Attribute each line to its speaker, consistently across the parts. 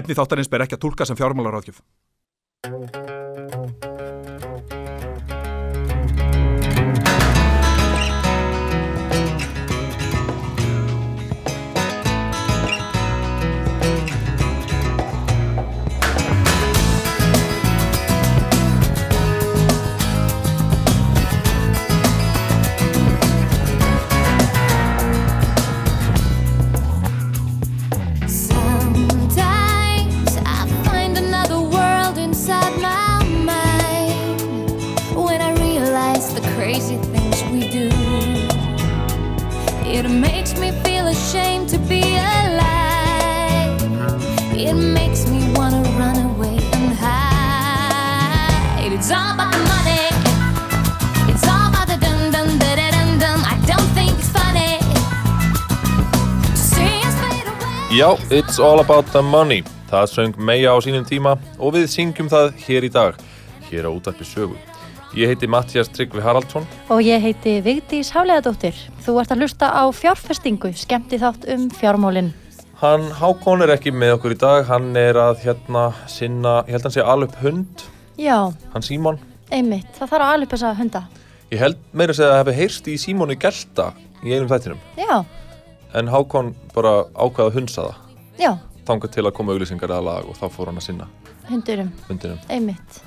Speaker 1: Efni þáttarins ber ekki að tólka sem fjármálaráðgjöf.
Speaker 2: Sometimes I find another world inside my mind when I realize the crazy things we do. It makes me feel ashamed to be alive. It makes me wanna run away and hide. It's all about the money. It's all about the dum dum da da dum dum. I don't think it's funny. To see us fade away.
Speaker 3: Já, It's All About The Money. Það söng Meja á sínum tíma og við syngjum það hér í dag, hér á útarpi sögu. Ég heiti Mattias Tryggvi Haraldsson.
Speaker 4: Og ég heiti Vigdís Háleðadóttir. Þú ert að hlusta á fjárfestingu, skemmti þátt um fjármálin.
Speaker 3: Hann Hákon er ekki með okkur í dag, hann er að hérna sinna, ég held hann sé alveg hund,
Speaker 4: Já,
Speaker 3: hann Símon.
Speaker 4: einmitt, það þarf að alveg þessa hunda.
Speaker 3: Ég held meira að segja að það hefði heyrst í Símonu Gelta í einum þættinum,
Speaker 4: Já,
Speaker 3: en Hákon bara ákvaða að hunsa það,
Speaker 4: já,
Speaker 3: þangað til að koma auglýsingar eða lag og þá fór hann að sinna
Speaker 4: hundurum,
Speaker 3: hundinum.
Speaker 4: einmitt.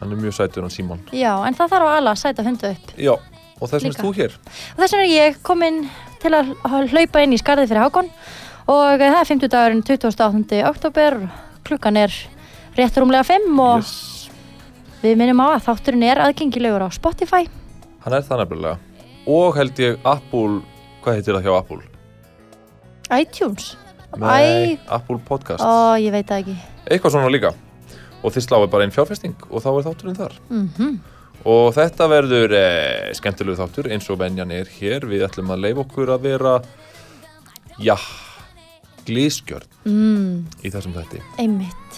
Speaker 3: Hann er mjög sætur hann Símon.
Speaker 4: Já, en það þarf að ala að sæta hundu upp.
Speaker 3: Já, og þess vegna
Speaker 4: Líka.
Speaker 3: er þú hér.
Speaker 4: Og þess vegna er ég komin til að hlaupa inn í skarðið fyrir Hákon og eh, það er 50 dagurinn 28. oktober, klukkan er rétt rúmlega 5 og
Speaker 3: Yes.
Speaker 4: við minnum á að þátturinn er aðgengilegur á Spotify.
Speaker 3: Hann er það nefnilega. Og held ég Apple, hvað heitir það hjá Apple?
Speaker 4: iTunes, Æ.
Speaker 3: Apple Podcast.
Speaker 4: ó ég veit það ekki.
Speaker 3: Eitthvað svona líka. Og þið sláðu bara einn fjárfesting og þá er þátturinn þar.
Speaker 4: Mm
Speaker 3: Og þetta verður eh, skemmtilegu þáttur eins og venjan er hér. Við ætlum að leifa okkur að vera, já, glískjörn
Speaker 4: mm,
Speaker 3: í þessum þætti.
Speaker 4: einmitt,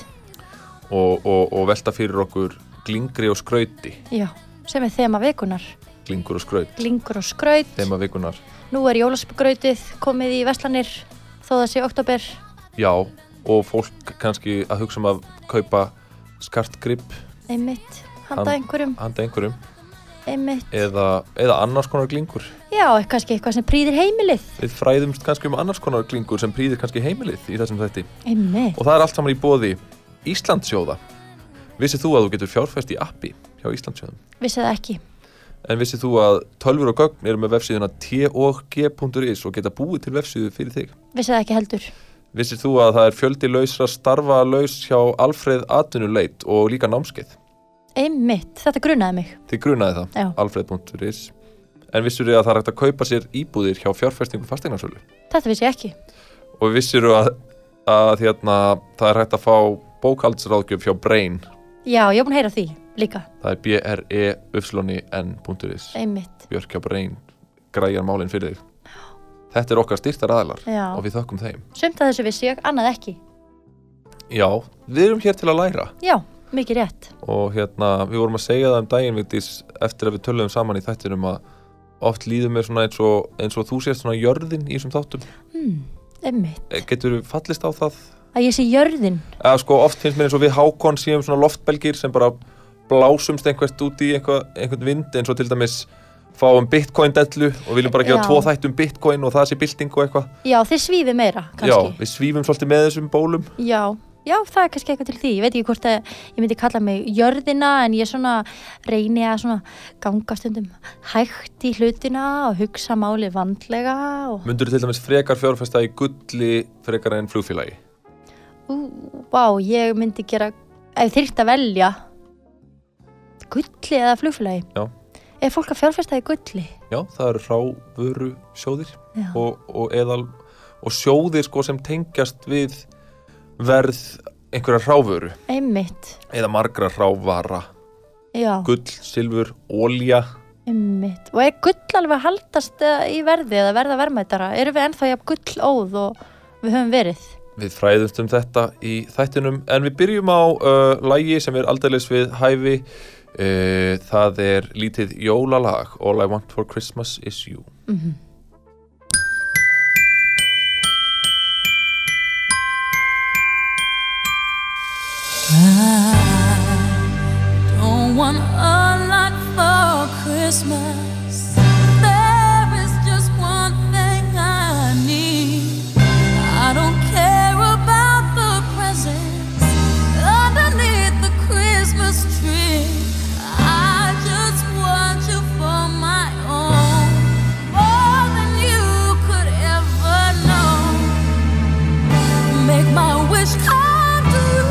Speaker 3: Og, og, og velta fyrir okkur glingri og skrauti.
Speaker 4: já, sem er þema vikunar.
Speaker 3: Glingur og skraut.
Speaker 4: Glingur og skraut,
Speaker 3: Þeim að vikunar.
Speaker 4: nú er jólaskrautið komið í veslanir þó það sé oktober.
Speaker 3: Já, og fólk kannski að hugsa um að kaupa skartgrip
Speaker 4: Einmitt, handa
Speaker 3: Hann-
Speaker 4: einhverjum,
Speaker 3: handa einhverjum.
Speaker 4: einmitt.
Speaker 3: eða, eða annars konar glingur
Speaker 4: Já, kannski eitthvað sem prýðir heimilið.
Speaker 3: við fræðumst kannski um annars konar glingur sem prýðir kannski heimilið í þessum þætti
Speaker 4: Einmitt.
Speaker 3: og það er allt saman í bóði Íslandsjóða vissið þú að þú getur fjárfæst í appi hjá Íslandsjóðum
Speaker 4: Vissið það ekki.
Speaker 3: en vissið þú að tölfur og gögn eru með vefsíðuna tog.is og geta búið til vefsíðu fyrir þig
Speaker 4: Vissið það ekki heldur.
Speaker 3: vissið þú að það er fjöldi lausra starfa laus hjá Alfreð Atunuleit og líka námskeið
Speaker 4: Einmitt, þetta grunaði mig.
Speaker 3: þið grunaði það,
Speaker 4: Já.
Speaker 3: alfreð.is en vissur þið að það er hægt að kaupa sér íbúðir hjá fjárfæstingum fasteignasölu
Speaker 4: Þetta vissi ég ekki.
Speaker 3: og vissir að, að hérna, það er hægt að fá bókaldsráðgjöf hjá Brain
Speaker 4: Já, ég er búin að heyra því líka.
Speaker 3: það er E b-r-e-n.is
Speaker 4: Einmitt.
Speaker 3: Björk hjá Brain græjar málinn fyrir þig þetta er okkar styrtar aðlar
Speaker 4: Já.
Speaker 3: og við þökkum þeim
Speaker 4: Sumt að þessu vissi ég, annað ekki.
Speaker 3: já, við erum hér til að læra
Speaker 4: Já, mikið rétt.
Speaker 3: og hérna, við vorum að segja það um daginn Vigdís, eftir að við töluðum saman í þættinum að oft líður mér svona eins og, eins og þú sést svona jörðin í þessum þáttum
Speaker 4: Hmm, einmitt.
Speaker 3: Eh, getur við fallist á það?
Speaker 4: Að ég sé jörðin.
Speaker 3: eða sko oft finnst mér eins og við hákon síðum svona loftbelgir sem bara blásumst einhvert út í einhver, einhvern vind eins og til dæmis fáum bitcoin dellu og viljum bara gera
Speaker 4: Já.
Speaker 3: tvo þætt um bitcoin og það sé bylting og eitthvað
Speaker 4: Já, þið svífi meira,
Speaker 3: já,
Speaker 4: kannski.
Speaker 3: við svífum svolítið með þessum bólum
Speaker 4: Já, já, það er kannski eitthvað til því. Ég veit ekki hvort að ég myndi kalla mig jörðina en ég svona reyni að svona ganga stundum hægt í hlutina og hugsa máli vandlega og
Speaker 3: myndur til dæmis frekar fjárfesta í gulli frekar en flugfélagi
Speaker 4: ú, vá, ég myndi gera, ef þyrft að velja, gulli eða flugfélagi.
Speaker 3: Já.
Speaker 4: Er fólk að fjárfesta í gulli?
Speaker 3: já, það eru rávöru sjóðir
Speaker 4: Já.
Speaker 3: og, og, eðal, og sjóðir sko sem tengjast við verð einhverja rávöru
Speaker 4: Einmitt,
Speaker 3: eða margra rávara
Speaker 4: já,
Speaker 3: gull, silfur, ólja
Speaker 4: einmitt. Og er gull alveg að haldast eh, í verði eða verða verðmættara? Erum við ennþá jafn gullóð og við höfum verið?
Speaker 3: Við fræðumst um þetta í þættinum en við byrjum á uh, lægi sem er aldeilis við hæfi uh, það er lítið jólalag All I Want For Christmas Is You
Speaker 2: Don't want a lot for Christmas. There is just one thing I need. I don't care about the presents underneath the Christmas tree. I just want you for my own, more than you could ever know make my wish come true.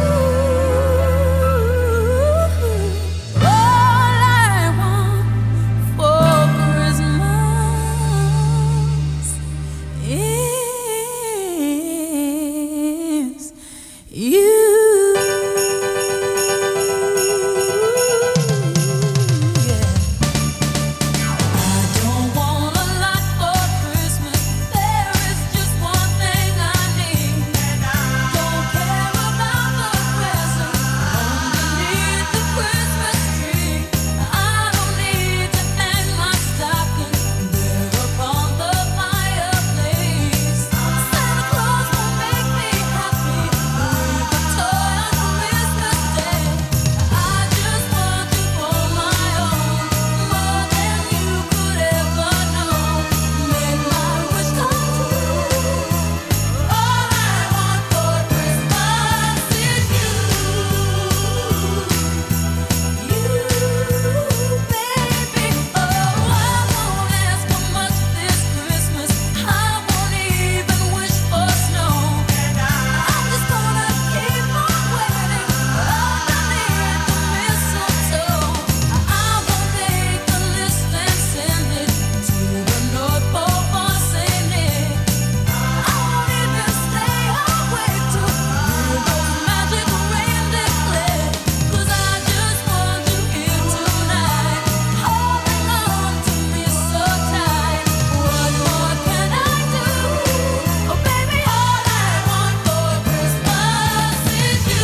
Speaker 2: All I want for Christmas is you. Yeah. I don't want a lot for Christmas. There is just one thing I need. Don't care about the presents underneath the Christmas tree. I don't need to hang my stocking there upon the fireplace. Santa Claus will make me happy with a toy on Christmas Day. I just want you for my own, more than you could ever know. Make my wish come true. All I want for Christmas is you, you, baby. Oh, I won't ask for much this Christmas. I won't even wish for snow. I'm just gonna keep on waiting underneath the mistletoe. I won't make a list and send it to the North Pole for Saint Nick. I won't even stay awake to hear those magic rain declare. 'Cause I just want you here tonight, holding on to me so tight. What more can I do? Oh baby, all I want for Christmas is you.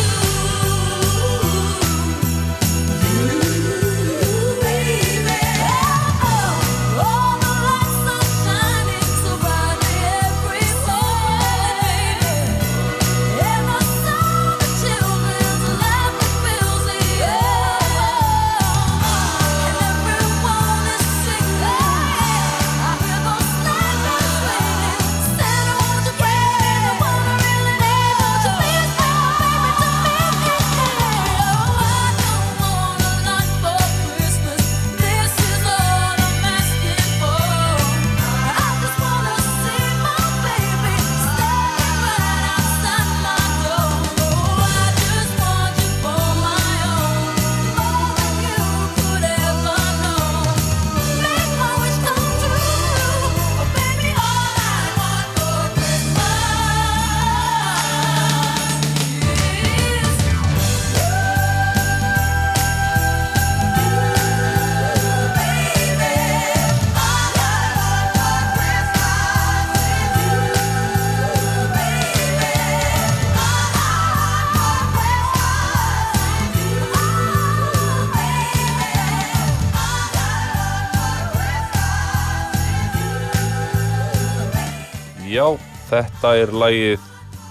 Speaker 3: Já, þetta er lagið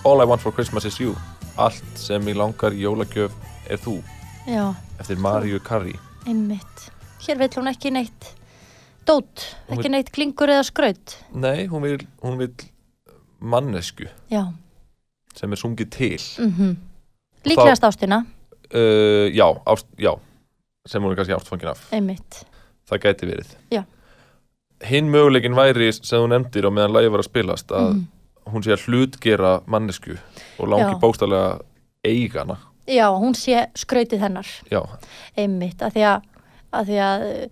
Speaker 3: All I Want For Christmas Is You Allt sem mig langar í jólagjöf er þú
Speaker 4: já,
Speaker 3: eftir Maríu Karri
Speaker 4: einmitt hér vill hún ekki neitt dót,
Speaker 3: Hún
Speaker 4: ekki
Speaker 3: vill-
Speaker 4: neitt glingur eða skraut
Speaker 3: Nei, hún vil, hún vil mannesku
Speaker 4: já,
Speaker 3: sem er sungið til
Speaker 4: mhm líklegast ástina,
Speaker 3: uh, Já, ást, já sem hún er kannski ástfangin af
Speaker 4: einmitt
Speaker 3: það gæti verið
Speaker 4: Já.
Speaker 3: Hinn möguleikin væri sem þú nefndir og meðan lagið var að spilast að
Speaker 4: Mhm.
Speaker 3: hún sé að hlutgera mannesku og langi
Speaker 4: Já.
Speaker 3: bókstallega eigana
Speaker 4: já, hún sé skrautið hennar
Speaker 3: Já,
Speaker 4: einmitt, af því að, að, því að uh,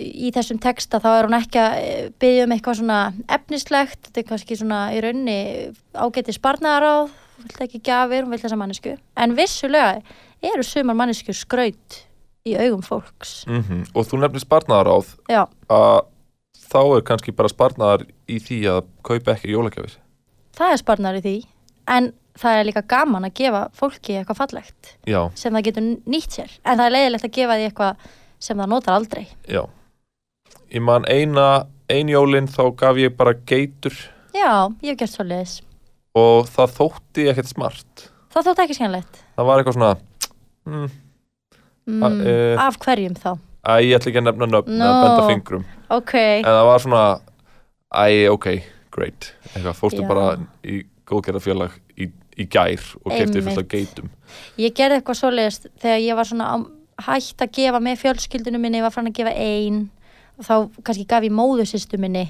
Speaker 4: í þessum texta þá er hún ekki að uh, biðja um eitthvað svona efnislegt, þetta er kannski svona í raunni ágæti sparnaráð hún vill ekki gjafir, hún vill þessa mannesku en vissulega eru sumar mannesku skraut í augum fólks
Speaker 3: mm og þú nefnir sparnaðaráð
Speaker 4: já,
Speaker 3: að þá er kannski bara sparnaðar í því að kaupa ekki jólagjafir
Speaker 4: það er sparnar í því en það er líka gaman að gefa fólki eitthvað fallegt
Speaker 3: Já,
Speaker 4: sem það getur nýtt sér en það er leiðilegt að gefa því eitthvað sem það notar aldrei
Speaker 3: já Ég man eina, ein jólin þá gaf ég bara geitur
Speaker 4: já, ég hef gert svo leiðis
Speaker 3: og það þótti ekkert smart
Speaker 4: það þótt ekki skemmilegt
Speaker 3: það var eitthvað svona mm,
Speaker 4: mm,
Speaker 3: eh.
Speaker 4: af hverjum þá
Speaker 3: Æ, ég ætla ekki að nefna nöfn no.
Speaker 4: No.
Speaker 3: að benda fingrum
Speaker 4: ok,
Speaker 3: en það var svona Æ, ok, great eitthvað, fórstu
Speaker 4: Já.
Speaker 3: bara í góðgerðarfélag í, í gær og kefti fullt af
Speaker 4: Einmitt.
Speaker 3: geitum
Speaker 4: ég gerði eitthvað svoleiðist þegar ég var svona á- hætt að gefa með fjölskyldunum minni, ég var farin að gefa ein og þá kannski gaf ég móðusistu minni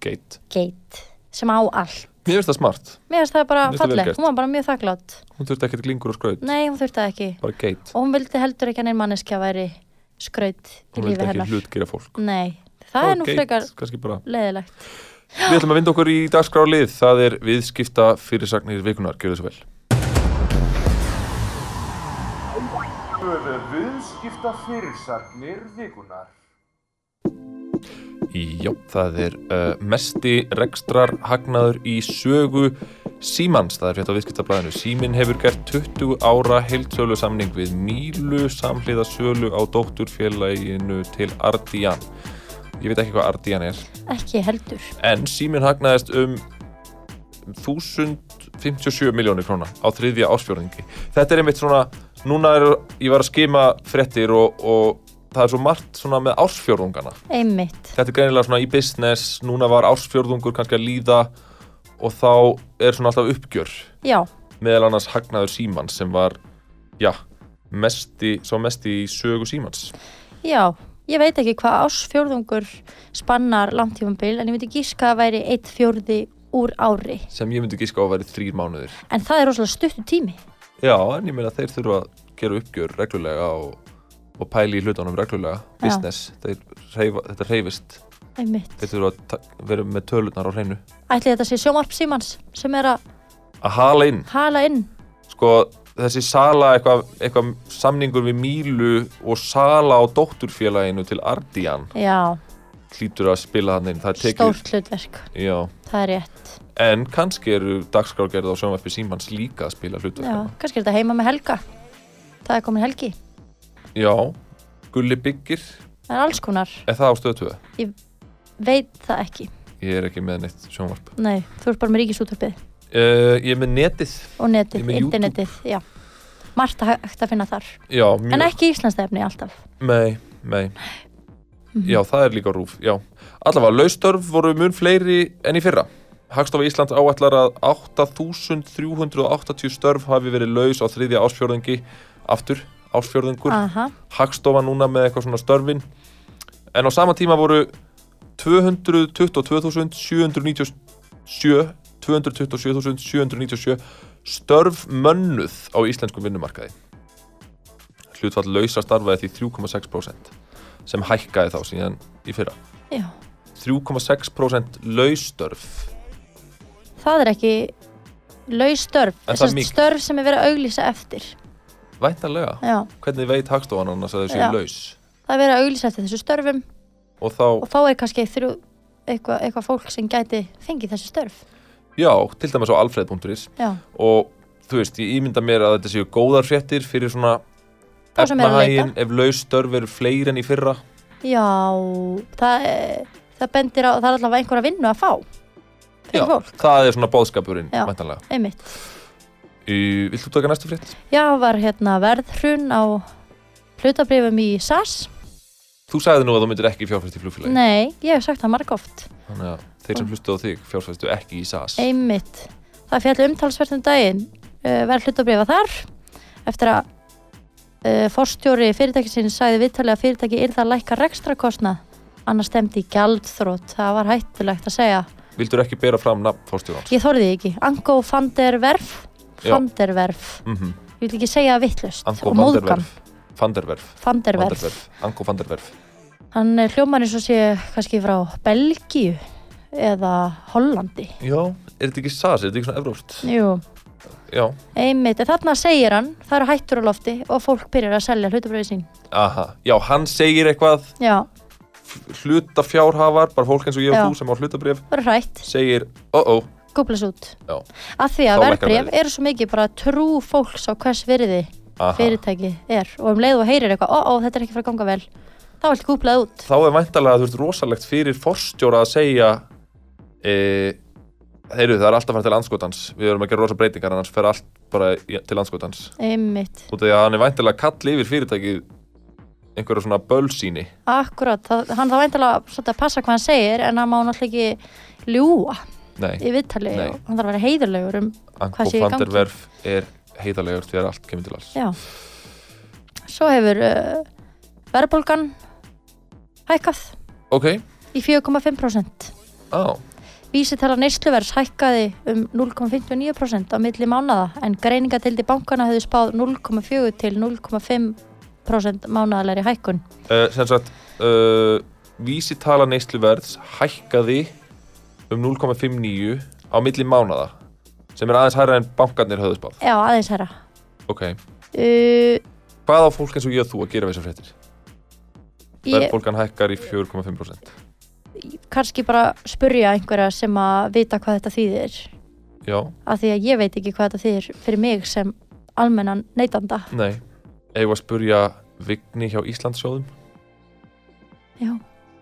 Speaker 3: geit,
Speaker 4: geit sem á allt
Speaker 3: mér finnst það smart
Speaker 4: mér finnst það bara
Speaker 3: Mér finnst það vel
Speaker 4: falleg,
Speaker 3: gert.
Speaker 4: hún var bara mjög þakklátt
Speaker 3: hún þurfti ekkert glingur og skraut,
Speaker 4: nei, hún þurfti það ekki
Speaker 3: bara geit
Speaker 4: og hún vildi heldur ekki að neinn manneskja væri skraut í
Speaker 3: hún
Speaker 4: lífi
Speaker 3: vildi ekki
Speaker 4: hennar
Speaker 3: hlutgera fólk
Speaker 4: nei, það er nú
Speaker 3: geit,
Speaker 4: frekar
Speaker 3: kannski bara
Speaker 4: leðilegt
Speaker 3: Við ætlum að vinda okkur í dagskrálið, það er viðskipta fyrirsagnir vikunar, gjör þessu vel.
Speaker 5: Viðskipta fyrirsagnir vikunar
Speaker 3: Já, það er uh, mesti rekstrar hagnaður í sögu Símans, það er frétt á viðskiptablaðinu. Símin hefur gert 20 ára heildsölu samning við Mílu samhliða sölu á dótturfélaginu til Ardian. Ég veit ekki hvað Ardian er,
Speaker 4: ekki heldur,
Speaker 3: en Símin hagnaðist um 1057 miljónir króna á þriðja ársfjörðingi. Þetta er einmitt svona, núna er, ég var að skima fréttir og, og það er svo margt svona með ársfjörðungana
Speaker 4: einmitt
Speaker 3: þetta er greinilega svona í business núna var ársfjörðungur kannski að líða og þá er svona alltaf uppgjör
Speaker 4: já,
Speaker 3: meðal annars hagnaður Símans sem var já, mesti, svo mesti í sögu Símans
Speaker 4: já, ég veit ekki hvað ásfjórðungur spannar langtífambil en ég myndi gíska að væri eitt fjórði úr ári,
Speaker 3: sem ég myndi gíska á að veri þrýr mánuðir
Speaker 4: en það er rosalega stuttu tími
Speaker 3: já, en ég meina þeir þurfa að gera uppgjör reglulega og, og pæli í hlutunum reglulega
Speaker 4: Já.
Speaker 3: business, þeir reyfa, þetta reyfist
Speaker 4: einmitt,
Speaker 3: þeir þurfa að ta- vera með tölurnar á hreinu
Speaker 4: ætli þetta sé sjómarp símans sem er að
Speaker 3: að hala inn
Speaker 4: hala inn
Speaker 3: sko þessi sala eitthvað eitthva samningur við Mílu og sala á dótturfélaginu til Ardian
Speaker 4: já,
Speaker 3: hlýtur að spila hann inn það er tekið
Speaker 4: stórt hlutverk,
Speaker 3: já,
Speaker 4: það er rétt
Speaker 3: en kannski eru dagskrárgerð á sjónvarpi símans líka að spila
Speaker 4: já,
Speaker 3: hlutverkana
Speaker 4: kannski er þetta heima með helga það er komin helgi,
Speaker 3: já. Gulli Byggir
Speaker 4: það er alls konar
Speaker 3: er það á stöðtöðu
Speaker 4: veit það ekki,
Speaker 3: ég er ekki með neitt sjónvarp
Speaker 4: nei, þú ert bara með ríkisútvarpið
Speaker 3: uh, ég er með netið
Speaker 4: og
Speaker 3: Ég
Speaker 4: netið,
Speaker 3: er með YouTube.
Speaker 4: internetið, já margt að hægt að finna þar
Speaker 3: já, mjög
Speaker 4: en ekki íslenskt efni alltaf
Speaker 3: Nei, nei Já, það er líka rúf, já Allavega, laustörf voru mun fleiri enn í fyrra Hagstofa Íslands áætlar að 8.380 störf hafi verið laus á þriðja ársfjörðingi aftur, ársfjörðingur
Speaker 4: Aha,
Speaker 3: Hagstofa núna með eitthvað svona störfin en á sama tíma voru 222.797 227.797 störf mönnuð á íslenskum vinnumarkaði hlutfall lausa starfaði því 3,6% sem hækkaði þá síðan í fyrra
Speaker 4: já,
Speaker 3: 3,6% laustörf
Speaker 4: það er ekki laus störf,
Speaker 3: En það er
Speaker 4: sem sagt
Speaker 3: mikið.
Speaker 4: störf sem er verið að auglýsa eftir
Speaker 3: væntanlega,
Speaker 4: já,
Speaker 3: hvernig veit hagstofan annars að þessu
Speaker 4: Já.
Speaker 3: er laus
Speaker 4: það er verið að auglýsa eftir þessu störfum
Speaker 3: og þá
Speaker 4: og þá er kannski þrjú, eitthvað eitthva fólk sem gæti fengið þessi störf
Speaker 3: Já, til dæmis á alfred.is
Speaker 4: Já.
Speaker 3: og þú veist, ég ímynda mér að þetta séu góðar fréttir fyrir svona
Speaker 4: Þá sem eru að leita.
Speaker 3: efnahaginn, ef laustörf eru fleiri enn í fyrra
Speaker 4: já, það eh, það bendir á, það er allavega einhverja vinnu að fá fyrir fólk,
Speaker 3: það er svona bóðskapurinn,
Speaker 4: Já.
Speaker 3: mæntanlega
Speaker 4: einmitt
Speaker 3: Í- Vilt þú taka næstu frétt?
Speaker 4: já, var hérna verðhrun á hlutabrifum í SAS
Speaker 3: Þú sagði nú að þú myndir ekki fjárfæst í flugfélagi
Speaker 4: nei, ég hef sagt það margóft
Speaker 3: Þannig að þeir sem hlustu á þig fjárfæstu ekki í SAS
Speaker 4: Einmitt. Það fjalli umtalsvert um daginn uh, verð hlutabrifa þar eftir að uh, forstjóri fyrirtækisins sagði viðtalið að fyrirtæki yrði að lækka rekstrakostna annars stemdi í gjaldþrótt það var hættulegt að segja
Speaker 3: Vildur ekki bera fram nafn fórstjóðans?
Speaker 4: ég þorði því ekki, Ango van der Werf
Speaker 3: Já.
Speaker 4: van der Werf
Speaker 3: Mm -hmm.
Speaker 4: ég vil ekki segja vittlust
Speaker 3: Ango
Speaker 4: og móðgan
Speaker 3: Vanderverf Vanderverf
Speaker 4: van der Werf
Speaker 3: Vanderverf Ango Vanderverf
Speaker 4: hann eh, hljómar eins og sé kannski frá Belgíu eða Hollandi
Speaker 3: Já, er þetta ekki SAS? Er þetta ekki svona evróst?
Speaker 4: Jú.
Speaker 3: Já,
Speaker 4: Einmitt, en þarna segir hann, það eru hættur á lofti og fólk byrjar að selja hlutabröði sín.
Speaker 3: aha Já, hann segir eitthvað
Speaker 4: Já,
Speaker 3: hlutafjárhafar, bara fólk eins og ég og
Speaker 4: Já.
Speaker 3: þú sem á hlutabrif,
Speaker 4: bara hrætt,
Speaker 3: segir oh oh,
Speaker 4: gúplast út.
Speaker 3: Já.
Speaker 4: Að því
Speaker 3: Þá
Speaker 4: að
Speaker 3: lækkar
Speaker 4: verðbréf
Speaker 3: verðið.
Speaker 4: eru svo mikið bara trú fólks á hvers virði
Speaker 3: aha.
Speaker 4: fyrirtæki er og um leið og heyrir eitthvað, ó, ó, þetta er ekki fyrir að ganga vel, þá er allt gúplað út.
Speaker 3: þá er væntalega þú veist rosalegt fyrir forstjóra að segja e, heyru það er alltaf fært til anskotans við verum að gera rosa breytingar annars fer allt bara í- til landskotans
Speaker 4: einmitt,
Speaker 3: út af því að hann er væntilega kall yfir fyrirtækið einhverja svona bölsýni
Speaker 4: akkurat það, hann þá væntalega svolítið að passa hvað hann segir en hann má náttúrulega ekki ljúa
Speaker 3: nei,
Speaker 4: í viðtali
Speaker 3: Nei.
Speaker 4: og hann þarf að vera heiðurlegur um
Speaker 3: Anko
Speaker 4: sé í
Speaker 3: van der
Speaker 4: gangi?
Speaker 3: Werf er heiðarlegur þegar allt kemur til alls
Speaker 4: já svo hefur uh, verðbólgan hækkað
Speaker 3: ok,
Speaker 4: í 4,5%
Speaker 3: á,
Speaker 4: Vísitala neysluvers hækkaði um 0,59% á milli mánada en greiningatildi bankana hefðu spáð 0,4 til 0,5% mánadalæri hækkun.
Speaker 3: uh, sem sagt uh, vísitala neysluverðs hækkaði um 0,59 á milli mánada sem er aðeins hærra en bankarnir höfðu spáð
Speaker 4: Já, aðeins herra.
Speaker 3: ok,
Speaker 4: Uh,
Speaker 3: hvað á fólk eins og ég og þú að gera við þessar fréttir?
Speaker 4: ég
Speaker 3: verðbólgan hækkar í 4,5%
Speaker 4: kannski bara spurja einhverja sem að vita hvað þetta þýðir
Speaker 3: já,
Speaker 4: af því að ég veit ekki hvað þetta þýðir fyrir mig sem almennan neytanda.
Speaker 3: nei eigum við að spurja Vigni hjá Íslandsjóðum
Speaker 4: Já,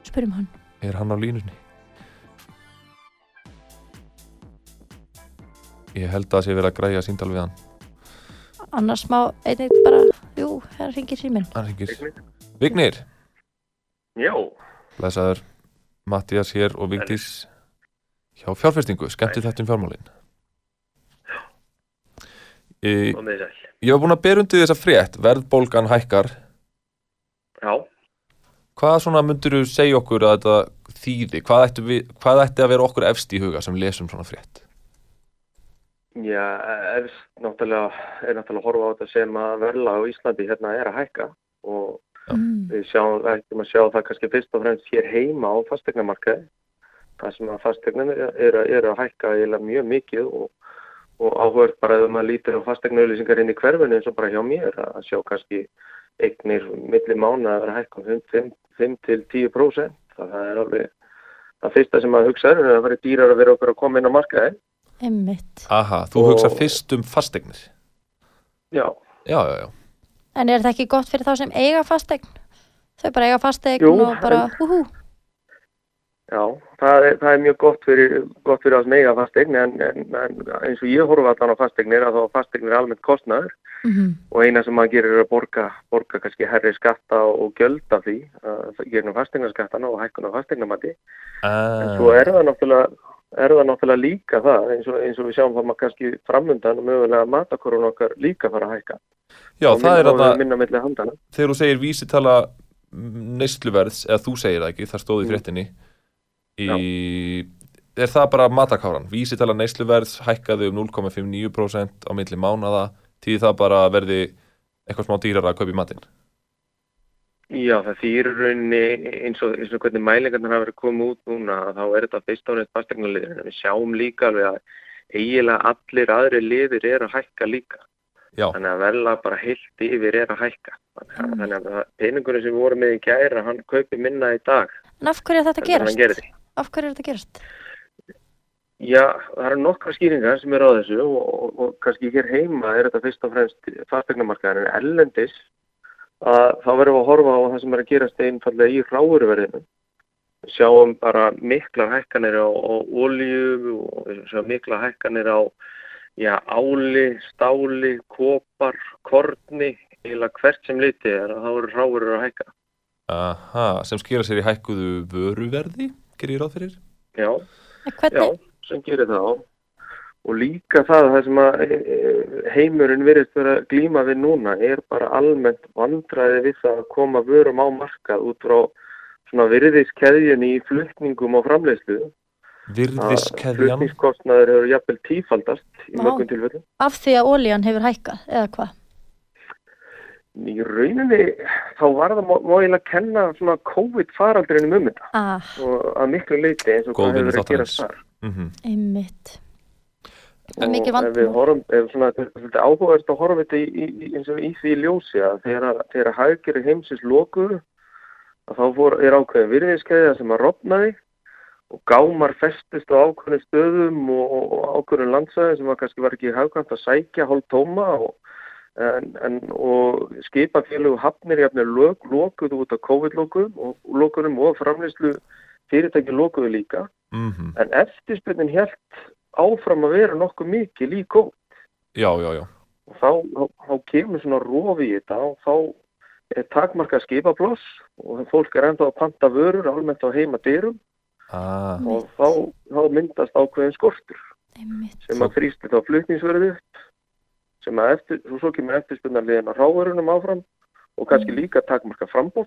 Speaker 4: spurjum hann.
Speaker 3: Er hann á línunni? Ég held að það sé verið að græja síndal við hann.
Speaker 4: Annars má einnig bara, jú, hérna ringir síminn.
Speaker 3: Hann hengir. Vignir,
Speaker 6: Já,
Speaker 3: blessaður Mattias hér og Vigdís hjá fjárfestingu. Skemmti þetta um fjármálin. E,
Speaker 6: og með sæl.
Speaker 3: ég var búin að bera undir þessa frétt, verðbólgan hækkar.
Speaker 6: Já,
Speaker 3: Hvað svona myndur þú segja okkur að þetta þýði? Hvað ætti, við, hvað ætti að vera okkur efst í huga sem lesum svona frétt?
Speaker 6: já, efst náttúrulega er náttúrulega að horfa á þetta sem að verla á Íslandi hérna er að hækka og
Speaker 4: Mm.
Speaker 6: við sjáum, ættum að sjá það kannski fyrst og fremst hér heima á fastegnamarkaði. Það sem að fastegnum er, er, að- er að hækka eiginlega mjög mikið og, og áhverð bara ef maður lítur á fastegnauðlýsingar inn í hverfinu eins og bara hjá mér að sjá kannski eignir milli mánu að vera hækka um 5-10%. Það er alveg það fyrsta sem maður hugsa er að það verið dýrar að vera okkur að koma inn á markaði.
Speaker 4: Einmitt.
Speaker 3: Aha, þú
Speaker 6: Og-
Speaker 3: hugsar fyrst um fastegnir.
Speaker 6: Já,
Speaker 3: Já, já, já.
Speaker 4: En er þetta ekki gott fyrir þá sem eiga fastegn? Þau bara eiga fastegn
Speaker 6: Jú,
Speaker 4: og bara, húhú,
Speaker 6: já, það er, það er mjög gott fyrir, gott fyrir að smega fastegn en, en, en eins og ég horfa allan á fastegnir að þá fastegnir er almennt kostnaður
Speaker 4: mm
Speaker 6: og eina sem maður gerir er að borga, borga kannski herri skatta og gjöld af því uh, gerum fastegnaskattana og hækkun á fastegnamati en
Speaker 3: Ah.
Speaker 6: svo er það náttúrulega er það náttúrulega líka það eins og, eins og við sjáum það maður kannski framundan og mögulega matakorun okkar líka fara að hækka
Speaker 3: Já,
Speaker 6: og
Speaker 3: það er
Speaker 6: minna,
Speaker 3: þarna,
Speaker 6: og minna milli handana
Speaker 3: þegar þú segir vísitala neysluverðs, eða þú segir það ekki, það stóð í
Speaker 6: Mm.
Speaker 3: fréttinni, í, er það bara matakáran? Vísitala neysluverðs hækkaði um 0,59% á milli mánada, því það bara verði eitthvað smá dýrar að kaupa í matinn.
Speaker 6: Já, það þýr rauninni eins og, eins og hvernig mælingarnar hafa verið komið út núna þá er þetta fyrst áneitt fastegnarliðin en við sjáum líka alveg að eiginlega allir aðri liðir er að hækka líka
Speaker 3: Já,
Speaker 6: þannig að verla bara heilt yfir er að hækka þannig að, þannig að peningurinn sem við vorum með í kæra hann kaupi minna í dag
Speaker 4: en af hverju er þetta að
Speaker 6: heldur en hann
Speaker 4: gerast?
Speaker 6: gerði.
Speaker 4: Af hverju er þetta að gerast?
Speaker 6: Já, það eru nokkra skýringar sem eru á þessu og, og, og kannski hér heima er þetta fyrst og fremst fastegnamarkaðan en ellendis að þá verðum við að horfa á það sem er að gerast einfallega í ráurverðinu. Við sjáum bara miklar hækkanir á, á olíu og við sjáum miklar hækkanir á já, áli, stáli, kopar, korni, eða hvert sem liti er að þá eru ráurur að hækka.
Speaker 3: aha, sem skýra sér í hækkuðu vöruverði, gerir ég ráð fyrir?
Speaker 6: Já.
Speaker 4: En Hvernig,
Speaker 6: Já, sem gerir það á. Og líka það, það sem að e, e, heimurinn virðist vera að glíma við núna er bara almennt vandræði við það að koma vörum á markað út frá svona virðiskeðjunni í flutningum og framleiðslu. Að
Speaker 3: Virðiskeðjan,
Speaker 6: Flutningskostnaður hefur jafnvel tífaldast í
Speaker 4: Vá.
Speaker 6: mörgum tilfellum.
Speaker 4: af því að ólíjan hefur hækkað, eða hvað?
Speaker 6: Í rauninni þá var það móiðilega að kenna svona COVID-faraldrinum um þetta
Speaker 4: Ah,
Speaker 6: og að miklu leiti eins og
Speaker 3: Góð
Speaker 6: hvað
Speaker 3: vinur
Speaker 6: hefur verið að gera
Speaker 3: þáttarins.
Speaker 6: þar.
Speaker 3: mm -hmm.
Speaker 4: einmitt. Það er
Speaker 6: og
Speaker 4: mikið
Speaker 6: ef við
Speaker 4: vandamál.
Speaker 6: horfum, ef svona, þetta er svolítið áhugaðist að horfa þetta í, í, í- eins og í því ljósi að þegar, að- þegar haggerið heimsins lokuðu að þá fór, er ákveðin virðinskeiða sem að rofnaði og gámar festist á ákveðin stöðum og, og- og ákveðin landsæði sem að kannski var ekki hagkvæmt að sækja hálf tóma og, en, en, og skipafélög og hafnir jafnir lok, lokuðu út af COVID-lokuðum og, lokunum og framlýslu fyrirtæki lokuðu líka
Speaker 3: Mm -hmm.
Speaker 6: en eftirspurnin helt áfram að vera nokkuð mikil í COVID
Speaker 3: Já, já, já,
Speaker 6: og þá, þá, þá kemur svona rofi í þetta og þá er takmarkað skipabloss og fólk er ennþá að panta vörur almennt á heima dyrum
Speaker 3: Ah,
Speaker 6: og þá, þá myndast ákveðin skortur
Speaker 4: einmitt,
Speaker 6: sem að þrýstir þá flutningsverðu upp sem að eftir, og svo kemur eftirspunarliðin á ráverunum áfram og kannski líka takmarkað frambóð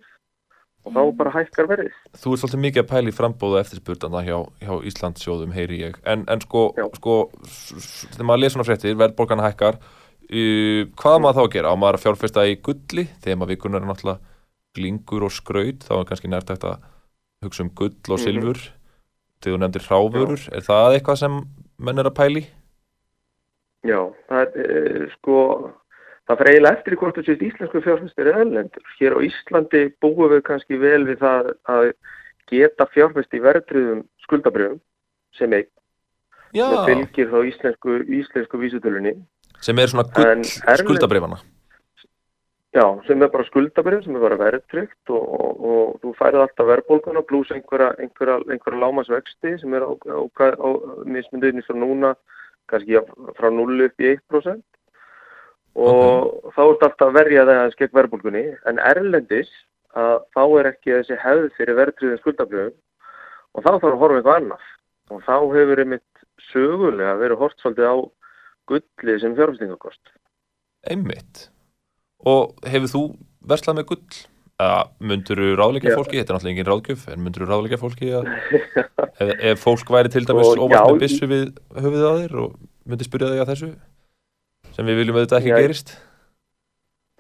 Speaker 6: og þá bara hækkar verðið.
Speaker 3: þú ert svolítið mikið að pæla í frambóðu eftirspurðana hjá, hjá Íslandsjóðum, heyri ég. En, en sko,
Speaker 6: Já.
Speaker 3: sko, s- s- þegar maður lesa svona fréttir, verðborgarna hækkar, uh, hvað á maður þá að gera? Á maður að fjárfesta í gulli? Þegar maður vikunar er náttúrulega glingur og skraut, þá er kannski nærtækt að hugsa um gull og
Speaker 6: Mhm.
Speaker 3: silfur. Þegar þú nefndir hráfurur, er það eitthvað sem menn er að pæli?
Speaker 6: Já, það er e, sko, það fyrir eiginlega eftir í hvort þú sést íslensku fjárfæstir eða erlendur. Hér á Íslandi búum við kannski vel við það að geta fjárfæst í verðriðum skuldabrjöfum sem eign
Speaker 3: Já,
Speaker 6: og fylgir þá íslensku, íslensku vísutölunni.
Speaker 3: sem er svona
Speaker 6: En
Speaker 3: gull
Speaker 6: erlend-
Speaker 3: skuldabrifana.
Speaker 6: Já, sem er bara skuldabrjöf sem er bara verðtryggt og, og, og þú færið alltaf verðbólguna pluss einhverja, einhverja, einhverja lámasvexti sem er á, á, á, á mismunduðinni frá núna kannski jafn- frá 0 upp í 1%. og þá ert alltaf að verja það aðeins gegn verðbólgunni en erlendis að þá er ekki þessi hefð fyrir verðtriðin skuldabrjöðum og þá þarf að horfa eitthvað annað og þá hefur einmitt sögulega verið hort svolítið á gullið sem fjárfæstingakost.
Speaker 3: Einmitt. Og hefur þú verslað með gull? Uh, munduru ráðleika
Speaker 6: Já.
Speaker 3: fólki, þetta er náttúrulega engin ráðgjöf en munduru ráðleika fólki að, ef, ef fólk væri til dæmis
Speaker 6: Og
Speaker 3: óvart
Speaker 6: já,
Speaker 3: með byssu við höfuðið að þér og myndi spyrja þig að þessu sem við viljum auðvitað ekki
Speaker 6: Já.
Speaker 3: gerist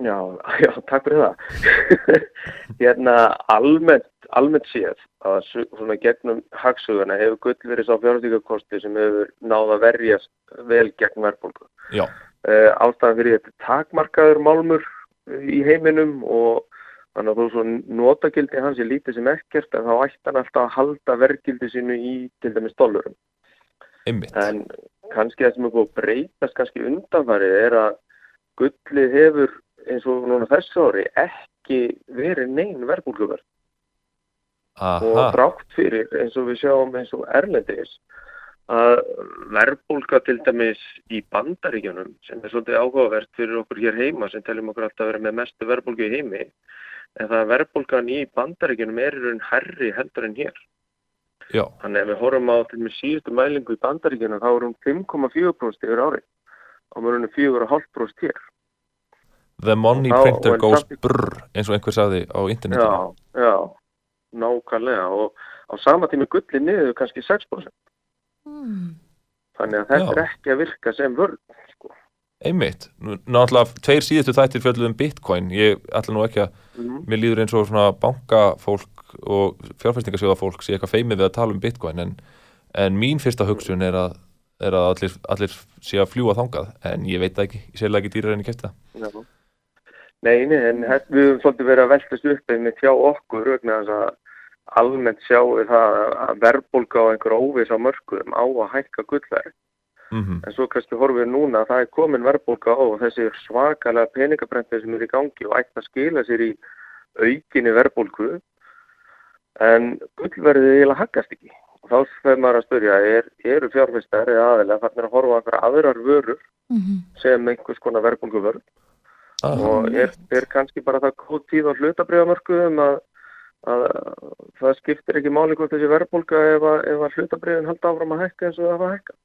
Speaker 6: Já, já, takk fyrir það. hérna almennt, almennt séð að su- svona gegnum hagsuguna hefur gull verið sá fjárfæstingakosti sem hefur náð að verjast vel gegn verðbólgu.
Speaker 3: Já,
Speaker 6: uh, ástæðan fyrir þetta er takmarkaður málmur eh, í heiminum og þannig að þú svo notagildi hans er lítið sem ekkert en þá ætti hann alltaf að halda verðgildi sínu í til dæmis dollurum.
Speaker 3: einmitt
Speaker 6: En kannski það sem er búið að breytast kannski undanfarið er að gullið hefur eins og núna þessu ári ekki verið neyn verðbúlguverð og
Speaker 3: Aha,
Speaker 6: drátt fyrir eins og við sjáum eins og erlendis að verðbólka til dæmis í bandaríkjunum sem er svolítið áhugavert fyrir okkur hér heima sem teljum okkur alltaf að vera með mestu verðbólku í heimi en það að verðbólkan í bandaríkjunum er í raun herri heldur en hér
Speaker 3: já,
Speaker 6: þannig að ef við horfum á til dæmis síðustu mælingu í bandaríkjunum þá er hún 5,4% yfir ári á mörunum 4,5% hér
Speaker 3: the money
Speaker 6: Já,
Speaker 3: printer
Speaker 6: og en
Speaker 3: goes
Speaker 6: samt-
Speaker 3: brrr eins og einhver sagði á internetinu
Speaker 6: já, já, nákvæmlega og á sama tími gulli niður kannski 6%
Speaker 4: mm,
Speaker 6: Þannig að þetta
Speaker 3: Já.
Speaker 6: er ekki að virka sem vörn. Sko.
Speaker 3: Einmitt, Nú- náttúrulega tveir síðustu þættir fjölduð um bitcoin, ég ætla nú ekki að mér líður eins og svona bankafólk og fjárfæstingasjóðafólk sé eitthvað feimið við að tala um bitcoin en, en mín fyrsta hugsun er að, er að allir, allir sé að fljúa þangað en ég veit það ekki, ég sérlega ekki dýrar en ég kæfti það
Speaker 6: Mhm, Já. Nei, nei, en þetta- við höfum svolítið verið að veltast upp einmitt hjá okkur vegna þess að almennt sjáum við það að verðbólka á einhver óvis á mörgum á að hækka gullverð.
Speaker 3: mm
Speaker 6: En svo kannski horfum við núna að það er komin verðbólka á og þessi svakalega peningabrendir sem eru í gangi og ætti að skila sér í aukinni verðbólku. En gullverðið eiginlega haggast ekki. Og þá fyrir maður að spyrja, er, eru fjárfæstar eða aðilega þannig að horfa á einhverja aðrar vörur
Speaker 4: mhm,
Speaker 6: sem einhvers konar verðbólguvörn
Speaker 3: ah,
Speaker 6: og er, er kannski bara það góð tíð á hlutabriðamörkuðum að, að það skiptir ekki máli hvort þessi verðbólga ef að, ef að hlutabriðin halda áfram að hækka eins og það var að hækka.